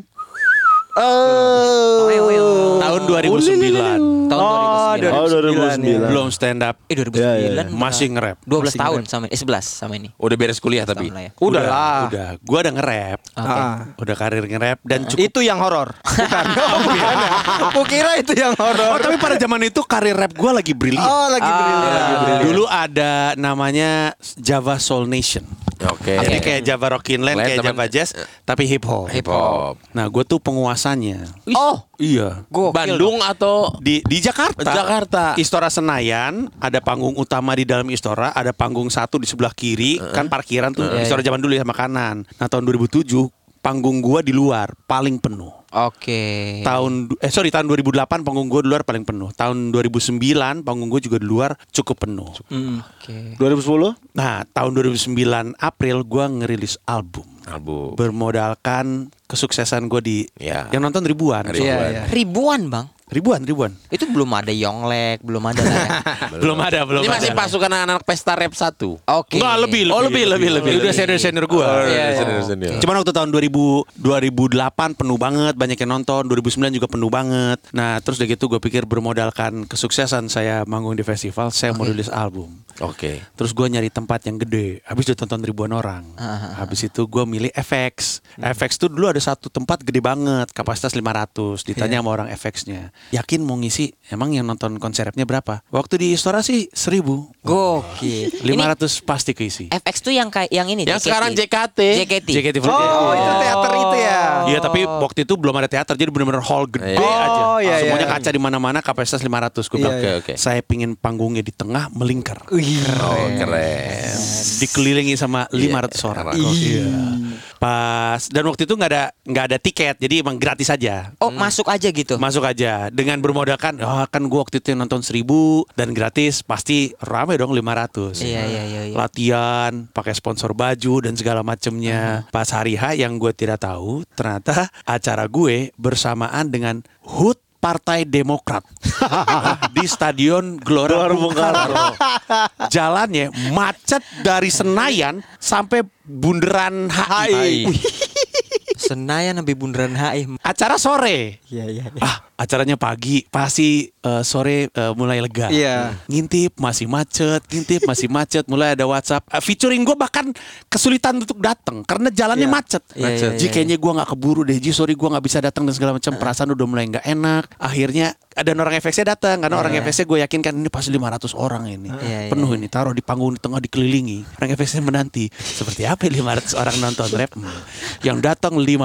[SPEAKER 7] eh
[SPEAKER 5] Oh.
[SPEAKER 8] Tahun 2009
[SPEAKER 5] Tahun
[SPEAKER 3] Oh,
[SPEAKER 5] 2009.
[SPEAKER 7] Oh, 2009.
[SPEAKER 8] Belum stand up
[SPEAKER 5] Eh 2009
[SPEAKER 8] iya, Masih nge-rap
[SPEAKER 5] 12 tahun sama eh 11 sama ini.
[SPEAKER 6] Udah beres kuliah tapi.
[SPEAKER 5] Tahun lah ya.
[SPEAKER 3] Udah lah.
[SPEAKER 8] Udah Gue udah nge-rap
[SPEAKER 3] Ah.
[SPEAKER 8] Udah karir nge-rap Dan cukup
[SPEAKER 3] Itu yang horor. Bukan.
[SPEAKER 5] Iya,
[SPEAKER 3] Oh, bukan ya. Aku kira itu yang
[SPEAKER 8] Oh
[SPEAKER 3] horor.
[SPEAKER 8] tapi pada zaman itu karir rap gue lagi brilian
[SPEAKER 3] Oh, lagi brilliant. Lagi brilliant.
[SPEAKER 8] Iya, Dulu ada namanya Java Soul Nation.
[SPEAKER 6] Oke.
[SPEAKER 8] Jadi kayak Java Rockinland,
[SPEAKER 6] Lain
[SPEAKER 8] kayak
[SPEAKER 6] temen-
[SPEAKER 8] Java Jazz, tapi hip hop.
[SPEAKER 6] Hip hop.
[SPEAKER 8] Nah, gue tuh penguasanya.
[SPEAKER 5] Oh,
[SPEAKER 8] Iya.
[SPEAKER 5] gokil.
[SPEAKER 6] Bandung atau
[SPEAKER 8] Di di Jakarta.
[SPEAKER 6] Jakarta.
[SPEAKER 8] Istora Senayan ada panggung utama di dalam Istora, ada panggung satu di sebelah kiri, kan parkiran tuh
[SPEAKER 5] Iya,
[SPEAKER 8] Istora zaman dulu ya sama kanan. Nah, tahun 2007 panggung gua di luar paling penuh.
[SPEAKER 5] Oke.
[SPEAKER 8] Tahun eh sorry tahun 2008 panggung gua di luar paling penuh. Tahun 2009 panggung gua juga di luar cukup penuh.
[SPEAKER 5] Oke.
[SPEAKER 7] 2010
[SPEAKER 8] Nah, tahun 2009 April gua ngerilis album
[SPEAKER 6] album.
[SPEAKER 8] bermodalkan kesuksesan gue di
[SPEAKER 6] Ya.
[SPEAKER 8] yang nonton ribuan.
[SPEAKER 6] Ribuan.
[SPEAKER 8] So,
[SPEAKER 5] Iya, Ribuan, Bang.
[SPEAKER 8] ribuan, ribuan.
[SPEAKER 5] Itu belum ada Yonglek, belum ada lah ya.
[SPEAKER 8] Belum ada, belum
[SPEAKER 6] Ini
[SPEAKER 8] ada.
[SPEAKER 6] masih pasukan anak-anak pesta rap 1.
[SPEAKER 5] Oke.
[SPEAKER 8] Enggak, lebih,
[SPEAKER 6] Oh, lebih, lebih, lebih. Oh,
[SPEAKER 8] Udah senior-senior gue.
[SPEAKER 6] Iya.
[SPEAKER 8] Cuman waktu tahun 2000, 2008 penuh banget, banyak yang nonton. 2009 juga penuh banget. Nah, terus udah gitu gue pikir bermodalkan kesuksesan saya manggung di festival, saya mau rilis album.
[SPEAKER 6] Oke.
[SPEAKER 8] Terus gue nyari tempat yang gede. Habis ditonton ribuan orang.
[SPEAKER 3] Ah,
[SPEAKER 8] Habis itu gue milih FX.
[SPEAKER 3] Mm-hmm.
[SPEAKER 8] FX tuh dulu ada satu tempat gede banget, kapasitas 500.
[SPEAKER 3] Iya.
[SPEAKER 8] Ditanya sama orang FX-nya, "Yakin mau ngisi? Emang yang nonton konser rapnya berapa?" Waktu di Istora sih 1000.
[SPEAKER 5] Gokil. Ini
[SPEAKER 8] 500 pasti keisi.
[SPEAKER 5] FX tuh yang kayak yang ini
[SPEAKER 6] Yang sekarang JKT.
[SPEAKER 5] JKT.
[SPEAKER 8] JKT48.
[SPEAKER 3] Oh, itu teater itu ya.
[SPEAKER 8] Iya tapi waktu itu belum ada teater jadi benar-benar hall gede
[SPEAKER 6] Oh,
[SPEAKER 8] aja.
[SPEAKER 3] iya,
[SPEAKER 8] Semuanya
[SPEAKER 3] iya.
[SPEAKER 8] kaca di mana-mana kapasitas 500 gue bilang.
[SPEAKER 6] Iya, iya. Oke, oke.
[SPEAKER 8] Saya pingin panggungnya di tengah melingkar.
[SPEAKER 6] Oh, keren.
[SPEAKER 8] Iya. dikelilingi sama 500 orang.
[SPEAKER 6] orang.
[SPEAKER 8] Iya. Pas dan waktu itu nggak ada nggak ada tiket, jadi emang gratis aja.
[SPEAKER 5] Oh, masuk aja gitu.
[SPEAKER 8] Masuk aja dengan bermodalkan "Ah, kan gua waktu itu yang nonton 1000 dan gratis pasti rame dong 500.
[SPEAKER 5] Iya, iya, iya, iya.
[SPEAKER 8] Latihan, pakai sponsor baju dan segala macemnya. Pas hari H yang gue tidak tahu, ternyata acara gue bersamaan dengan HUT Partai Demokrat di Stadion Gelora Bung Karno. Jalannya macet dari Senayan sampai bundaran HI. Wih,
[SPEAKER 5] Senayan sampai Bundaran HI.
[SPEAKER 8] Acara sore.
[SPEAKER 3] Iya iya. iya.
[SPEAKER 8] Ah, acaranya pagi, pasti eh, sore eh, mulai lega.
[SPEAKER 3] Iya.
[SPEAKER 8] Ngintip masih macet, ngintip masih macet, mulai ada WhatsApp. Eh, featuring gue bahkan kesulitan untuk datang karena jalannya
[SPEAKER 3] Iya.
[SPEAKER 8] macet.
[SPEAKER 5] Iya, iya, iya,
[SPEAKER 8] Ji kayaknya gue nggak keburu deh, Ji sorry gue nggak bisa datang dan segala macam. Perasaan udah mulai nggak enak. Akhirnya ada orang FX-nya datang karena orang FX-nya gue yakin kan ini pasti 500 orang ini.
[SPEAKER 5] Iya, iya,
[SPEAKER 8] Penuh ini, taruh di panggung di tengah dikelilingi. Orang FX-nya menanti. Seperti apa 500 orang nonton rap? Hmm. Yang datang 15.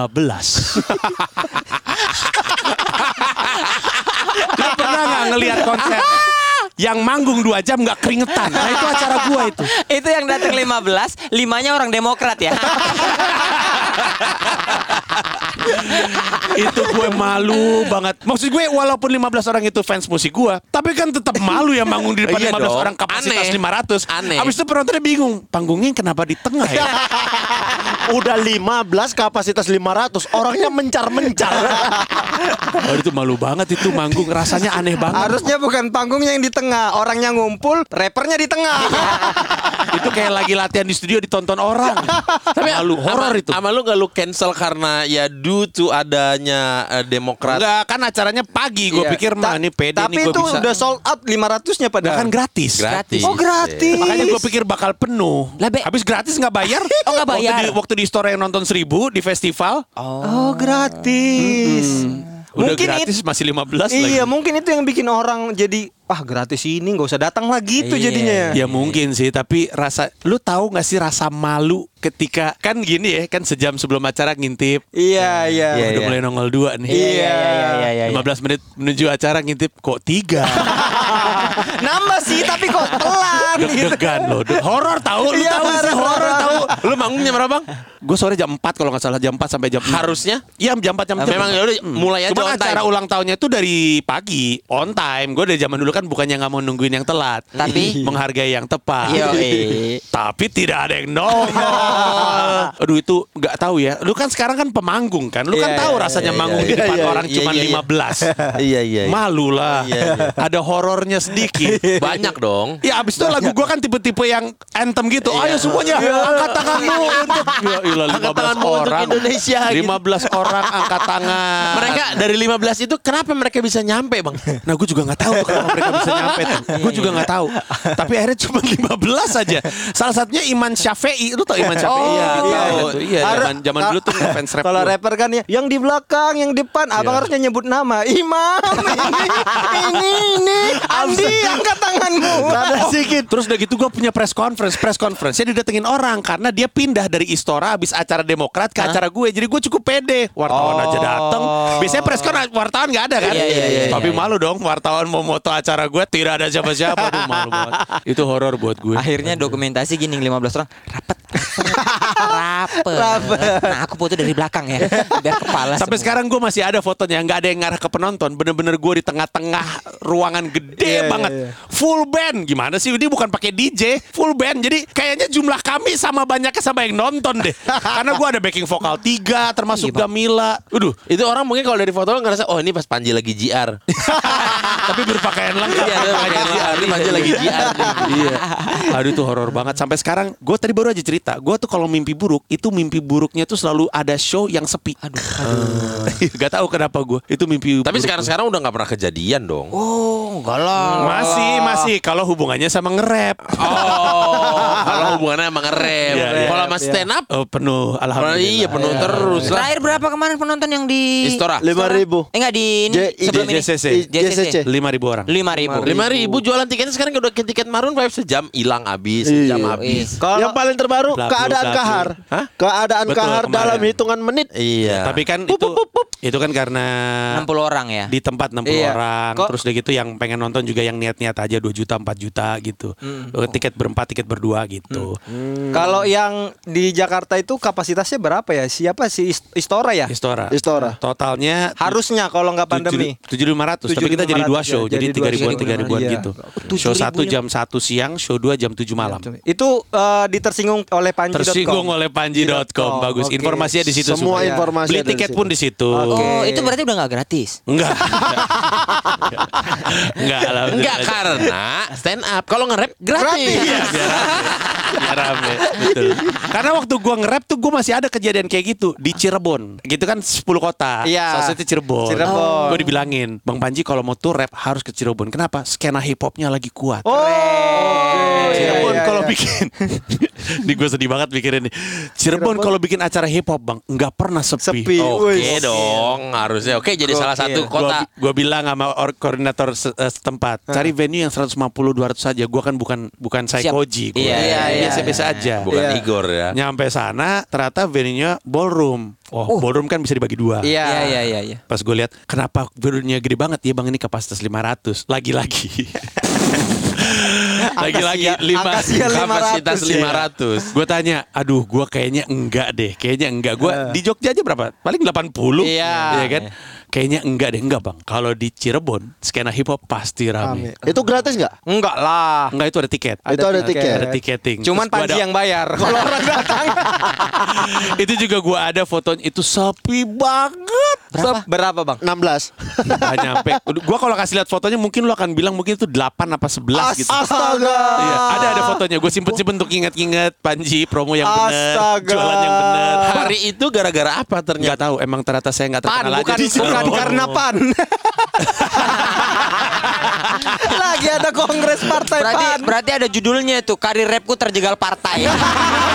[SPEAKER 8] Lu pernah nggak ngelihat konser yang manggung dua jam nggak keringetan? Nah itu acara gua itu.
[SPEAKER 5] Itu yang datang 15, limanya orang Demokrat ya.
[SPEAKER 8] Itu gue malu banget. Maksud gue walaupun 15 orang itu fans musik gua, tapi kan tetap malu ya manggung di depan
[SPEAKER 6] Iya
[SPEAKER 8] 15
[SPEAKER 6] dong.
[SPEAKER 8] orang kapasitas
[SPEAKER 6] Aneh.
[SPEAKER 8] 500.
[SPEAKER 6] Aneh.
[SPEAKER 8] Habis itu penontonnya bingung, panggungnya kenapa di tengah ya?
[SPEAKER 7] Eh, udah 15 kapasitas 500 orangnya mencar-mencar.
[SPEAKER 8] Oh, itu malu banget itu manggung rasanya aneh banget.
[SPEAKER 3] Harusnya bukan panggungnya yang di tengah, orangnya ngumpul, rappernya di tengah.
[SPEAKER 8] Iya.
[SPEAKER 3] Iya.
[SPEAKER 8] itu kayak lagi latihan di studio ditonton orang. Tapi malu horor itu.
[SPEAKER 6] Sama lu gak lu cancel karena ya due to adanya eh, Demokrat.
[SPEAKER 8] Enggak, kan acaranya pagi. Gue
[SPEAKER 3] Iya.
[SPEAKER 8] pikir mah
[SPEAKER 3] Ta-
[SPEAKER 8] ini pede
[SPEAKER 3] Tapi
[SPEAKER 8] nih gue
[SPEAKER 3] itu
[SPEAKER 8] bisa.
[SPEAKER 3] udah sold out 500-nya
[SPEAKER 8] Nah,
[SPEAKER 3] padahal.
[SPEAKER 8] kan gratis.
[SPEAKER 6] Gratis.
[SPEAKER 3] Oh, gratis.
[SPEAKER 8] Makanya gue pikir bakal penuh.
[SPEAKER 5] Lah, Be.
[SPEAKER 8] Habis gratis nggak bayar?
[SPEAKER 5] Oh, nggak bayar.
[SPEAKER 8] Waktu di, waktu di store yang nonton seribu di festival,
[SPEAKER 3] Oh, gratis.
[SPEAKER 8] Udah
[SPEAKER 3] Mungkin
[SPEAKER 8] gratis masih 15 lagi.
[SPEAKER 3] Iya mungkin itu yang bikin orang jadi wah gratis ini nggak usah datang lagi itu
[SPEAKER 5] Iya.
[SPEAKER 3] jadinya.
[SPEAKER 8] Ya mungkin sih, tapi rasa lu tahu nggak sih rasa malu ketika kan gini ya, kan sejam sebelum acara ngintip.
[SPEAKER 3] Iya iya.
[SPEAKER 8] Wah, udah mulai nongol dua nih.
[SPEAKER 3] Iya, iya, iya, iya,
[SPEAKER 5] iya, iya.
[SPEAKER 8] 15 menit menuju acara ngintip kok tiga.
[SPEAKER 3] Nambah sih tapi kok pelan gitu.
[SPEAKER 8] Deg-degan loh. De- horor tahu, lu
[SPEAKER 3] Iya,
[SPEAKER 8] tahu sih
[SPEAKER 3] horor,
[SPEAKER 8] horor
[SPEAKER 3] horor.
[SPEAKER 8] tahu. Lu manggungnya berapa, Bang? Gue sore jam 4 kalau nggak salah, jam 4 sampai jam
[SPEAKER 6] Harusnya?
[SPEAKER 8] Iya, jam 4 jam
[SPEAKER 6] Ah, memang ya udah, mulai aja
[SPEAKER 8] Cuman
[SPEAKER 6] on time.
[SPEAKER 8] acara ulang tahunnya tuh dari pagi, on time. Gue dari zaman dulu kan bukannya nggak mau nungguin yang telat,
[SPEAKER 5] Tapi-
[SPEAKER 8] menghargai yang tepat.
[SPEAKER 7] Iya,
[SPEAKER 5] Yoi.
[SPEAKER 8] Tapi tidak ada yang nongol. Aduh itu nggak tahu ya. Lu kan sekarang kan pemanggung kan. Lu kan
[SPEAKER 3] Iya,
[SPEAKER 8] tahu
[SPEAKER 3] iya,
[SPEAKER 8] rasanya
[SPEAKER 3] iya,
[SPEAKER 8] manggung
[SPEAKER 3] iya,
[SPEAKER 8] di depan
[SPEAKER 7] iya,
[SPEAKER 8] orang
[SPEAKER 7] iya,
[SPEAKER 8] cuma
[SPEAKER 7] iya, iya.
[SPEAKER 8] 15.
[SPEAKER 7] Iya iya. iya.
[SPEAKER 8] Malu lah. Ada horornya sedikit.
[SPEAKER 6] Banyak dong.
[SPEAKER 8] Ya abis itu lagu gua kan tipe-tipe yang anthem gitu. Ayo semuanya angkat tanganmu untuk ya, ilah, 15
[SPEAKER 6] Angkat tanganmu untuk
[SPEAKER 8] orang.
[SPEAKER 6] Indonesia, gitu.
[SPEAKER 8] 15 orang angkat tangan.
[SPEAKER 6] Mereka dari 15 itu kenapa mereka bisa nyampe bang?
[SPEAKER 8] Nah gue juga nggak tahu tuh kenapa mereka bisa nyampe tuh. Gue juga nggak tahu. Tapi akhirnya cuma 15 aja. Salah satunya Iman Syafi'i. Lu tau Iman Syafi'i?
[SPEAKER 3] Oh,
[SPEAKER 8] Iya,
[SPEAKER 3] tahu.
[SPEAKER 8] iya, iya, iya. Zaman, zaman dulu tuh fans rap. Iya.
[SPEAKER 3] Kalau
[SPEAKER 8] dulu.
[SPEAKER 3] rapper kan ya yang di belakang, yang depan, abang harusnya nyebut nama. Imam, ini, ini, ini, Andi, angkat tanganmu.
[SPEAKER 8] Oh, Terus udah gitu gue punya press conference Press conference Saya didatengin orang Karena dia pindah dari Istora Abis acara Demokrat Ke acara gue Jadi gue cukup pede Wartawan aja dateng Biasanya press con Wartawan gak ada kan
[SPEAKER 5] Oh. Iya, iya, iya,
[SPEAKER 8] Tapi malu dong Wartawan mau moto acara gue Tidak ada siapa-siapa Aduh malu banget Itu horor buat gue
[SPEAKER 5] Akhirnya dokumentasi gini 15 orang rapet rapet, rapet. Nah aku foto dari belakang ya biar kepala semua.
[SPEAKER 8] Sampai sekarang gue masih ada fotonya nggak ada yang ngarah ke penonton Bener-bener gue di tengah-tengah ruangan gede banget Full band Gimana sih ini bukan pakai DJ Full band Jadi kayaknya jumlah kami sama banyaknya sama yang nonton deh Karena gue ada backing vokal tiga Termasuk Gamila Aduh
[SPEAKER 6] Iya, Itu orang mungkin kalau dari foto lo ngerasa oh ini pas Panji lagi GR.
[SPEAKER 8] Tapi berpakaian lengkap
[SPEAKER 6] Iya, dia pakai GR, ini Panji lagi GR.
[SPEAKER 8] Iya Aduh itu horor banget Sampai sekarang Gue tadi baru aja cerita Gue tuh kalau mimpi buruk Itu mimpi buruknya tuh selalu ada show yang sepi Aduh, Gak tahu kenapa gue Itu mimpi
[SPEAKER 6] Tapi
[SPEAKER 8] buruk
[SPEAKER 6] sekarang sekarang udah nggak pernah kejadian dong.
[SPEAKER 8] Masih, masih. Kalau hubungannya sama nge-rap.
[SPEAKER 6] Oh, kalau hubungannya emang ngerem.
[SPEAKER 8] Iya, iya.
[SPEAKER 6] Kalau sama stand up,
[SPEAKER 8] Oh, penuh,
[SPEAKER 6] kalau
[SPEAKER 8] alhamdulillah.
[SPEAKER 6] iya penuh terus lah.
[SPEAKER 5] Terakhir berapa kemarin penonton yang di
[SPEAKER 6] Istora.
[SPEAKER 7] Lima ribu.
[SPEAKER 5] Eh enggak di ini
[SPEAKER 7] J- I-
[SPEAKER 5] sebelum ini.
[SPEAKER 8] JCC.
[SPEAKER 5] JCC.
[SPEAKER 7] JCC.
[SPEAKER 8] 5.000 orang.
[SPEAKER 5] 5000.
[SPEAKER 6] Lima ribu jualan tiketnya sekarang udah ke tiket Maroon 5 sejam hilang habis, sejam
[SPEAKER 7] Iya.
[SPEAKER 6] habis.
[SPEAKER 8] Ya,
[SPEAKER 7] yang paling terbaru
[SPEAKER 8] Blak, bluk,
[SPEAKER 7] keadaan
[SPEAKER 8] blak,
[SPEAKER 7] kahar.
[SPEAKER 8] bluk. Hah?
[SPEAKER 7] Keadaan
[SPEAKER 8] Betul,
[SPEAKER 7] kahar
[SPEAKER 8] kemarin.
[SPEAKER 7] dalam hitungan menit.
[SPEAKER 6] Iya.
[SPEAKER 8] Tapi kan itu itu kan karena
[SPEAKER 5] 60 orang ya.
[SPEAKER 8] di tempat 60
[SPEAKER 3] Iya.
[SPEAKER 8] orang
[SPEAKER 3] Kok-
[SPEAKER 8] terus udah gitu yang pengen nonton juga yang niat-niat aja 2 juta 4 juta gitu.
[SPEAKER 6] Hmm.
[SPEAKER 8] Eh, Tiket berempat, tiket berdua gitu.
[SPEAKER 3] Kalau yang di Jakarta itu kapasitasnya berapa ya? Siapa sih Is- Istora ya?
[SPEAKER 8] Istora.
[SPEAKER 7] Istora.
[SPEAKER 8] Totalnya
[SPEAKER 3] Harusnya kalau nggak pandemi.
[SPEAKER 8] 7500 tapi kita jadi dua
[SPEAKER 3] 7.500,
[SPEAKER 8] show
[SPEAKER 3] ya,
[SPEAKER 8] jadi
[SPEAKER 3] jadi dua
[SPEAKER 8] 3 ribuan
[SPEAKER 3] show.
[SPEAKER 8] 3 ribuan
[SPEAKER 3] Iya.
[SPEAKER 8] gitu. Show 1 jam 1 siang, show 2 jam 7 malam.
[SPEAKER 3] Ya, Itu eh, ditersinggung oleh Panji.
[SPEAKER 8] Tersinggung oleh panji.com bagus.
[SPEAKER 3] Iya, Oke.
[SPEAKER 8] Informasinya di situ
[SPEAKER 7] Semua
[SPEAKER 8] semuanya.
[SPEAKER 7] informasi
[SPEAKER 8] Beli
[SPEAKER 7] ada di
[SPEAKER 8] tiket
[SPEAKER 7] situ.
[SPEAKER 8] pun di situ.
[SPEAKER 5] Oh, itu berarti udah enggak gratis.
[SPEAKER 8] Enggak. Enggak lah. udah
[SPEAKER 6] Enggak
[SPEAKER 8] aja.
[SPEAKER 6] karena stand up. Kalau nge-rap gratis.
[SPEAKER 8] Iya, biar rame. Biar rame. Betul. Karena waktu gua nge-rap tuh gua masih ada kejadian kayak gitu di Cirebon. Gitu kan 10 kota.
[SPEAKER 3] Iya.
[SPEAKER 8] Salah satunya Cirebon.
[SPEAKER 3] Cirebon.
[SPEAKER 8] Gua dibilangin, "Bang Panji kalau mau tuh rap harus ke Cirebon." Kenapa? Skena hip hopnya lagi kuat.
[SPEAKER 3] Oh, oke. Iya,
[SPEAKER 8] Cirebon
[SPEAKER 3] iya,
[SPEAKER 8] Ya, kalau
[SPEAKER 3] iya.
[SPEAKER 8] bikin Ini gue sedih banget mikirin nih Cirebon kalau bikin acara hip hop bang Nggak pernah sepi,
[SPEAKER 3] Sepi.
[SPEAKER 6] Oke
[SPEAKER 3] Wih.
[SPEAKER 6] dong, harusnya. Oke, jadi salah satu kota.
[SPEAKER 8] Gue bilang sama or- koordinator se- eh, setempat Cari venue yang 150-200 aja Gue kan bukan bukan psikoji
[SPEAKER 5] Iya, iya, iya.
[SPEAKER 8] Biasa-biasa aja
[SPEAKER 6] Bukan Igor ya.
[SPEAKER 8] Nyampe sana ternyata venue-nya ballroom Oh ballroom kan bisa dibagi dua
[SPEAKER 5] Iya
[SPEAKER 3] Iya.
[SPEAKER 5] iya iya iya.
[SPEAKER 8] Pas gue lihat kenapa venue-nya gede banget ya bang ini kapasitas 500 Lagi-lagi Lagi-lagi
[SPEAKER 3] Angka sia-
[SPEAKER 8] lima
[SPEAKER 3] angka sia
[SPEAKER 6] Kapasitas
[SPEAKER 3] 500 ya.
[SPEAKER 6] 500.
[SPEAKER 8] Gue tanya, aduh gue kayaknya enggak deh, kayaknya enggak. Gue di Jogja aja berapa? Paling 80.
[SPEAKER 3] Iya.
[SPEAKER 8] kan? Kayaknya enggak deh, enggak bang. Kalau di Cirebon, skena hip hop pasti rame.
[SPEAKER 7] Itu gratis nggak?
[SPEAKER 3] Enggak lah.
[SPEAKER 8] Enggak itu ada tiket.
[SPEAKER 7] Itu ada tiket.
[SPEAKER 8] Ada tiketing.
[SPEAKER 3] Cuman
[SPEAKER 8] Terus gua
[SPEAKER 3] Panji
[SPEAKER 8] ada-
[SPEAKER 3] yang bayar. Kalau orang datang
[SPEAKER 8] itu juga gue ada fotonya itu sepi banget.
[SPEAKER 3] berapa? berapa bang?
[SPEAKER 7] 16
[SPEAKER 8] Gak nyampe. Gue kalau kasih lihat fotonya mungkin lo akan bilang mungkin itu 8 apa
[SPEAKER 3] Oh,
[SPEAKER 8] 11 gitu.
[SPEAKER 3] Astaga.
[SPEAKER 8] Iya, ada ada fotonya. Gue simpen-simpen untuk inget-inget Panji promo yang benar,
[SPEAKER 3] Astaga.
[SPEAKER 8] jualan yang benar.
[SPEAKER 6] Hari itu gara-gara apa ternyata?
[SPEAKER 8] Nggak tahu, emang ternyata saya nggak
[SPEAKER 3] Pan,
[SPEAKER 8] terkenal
[SPEAKER 3] bukan,
[SPEAKER 8] aja di kan.
[SPEAKER 3] bukan
[SPEAKER 8] Cirebon.
[SPEAKER 3] karena pan. Lagi ada kongres partai
[SPEAKER 5] Berarti
[SPEAKER 3] pan.
[SPEAKER 5] berarti ada judulnya tuh karir rapku terjegal partai.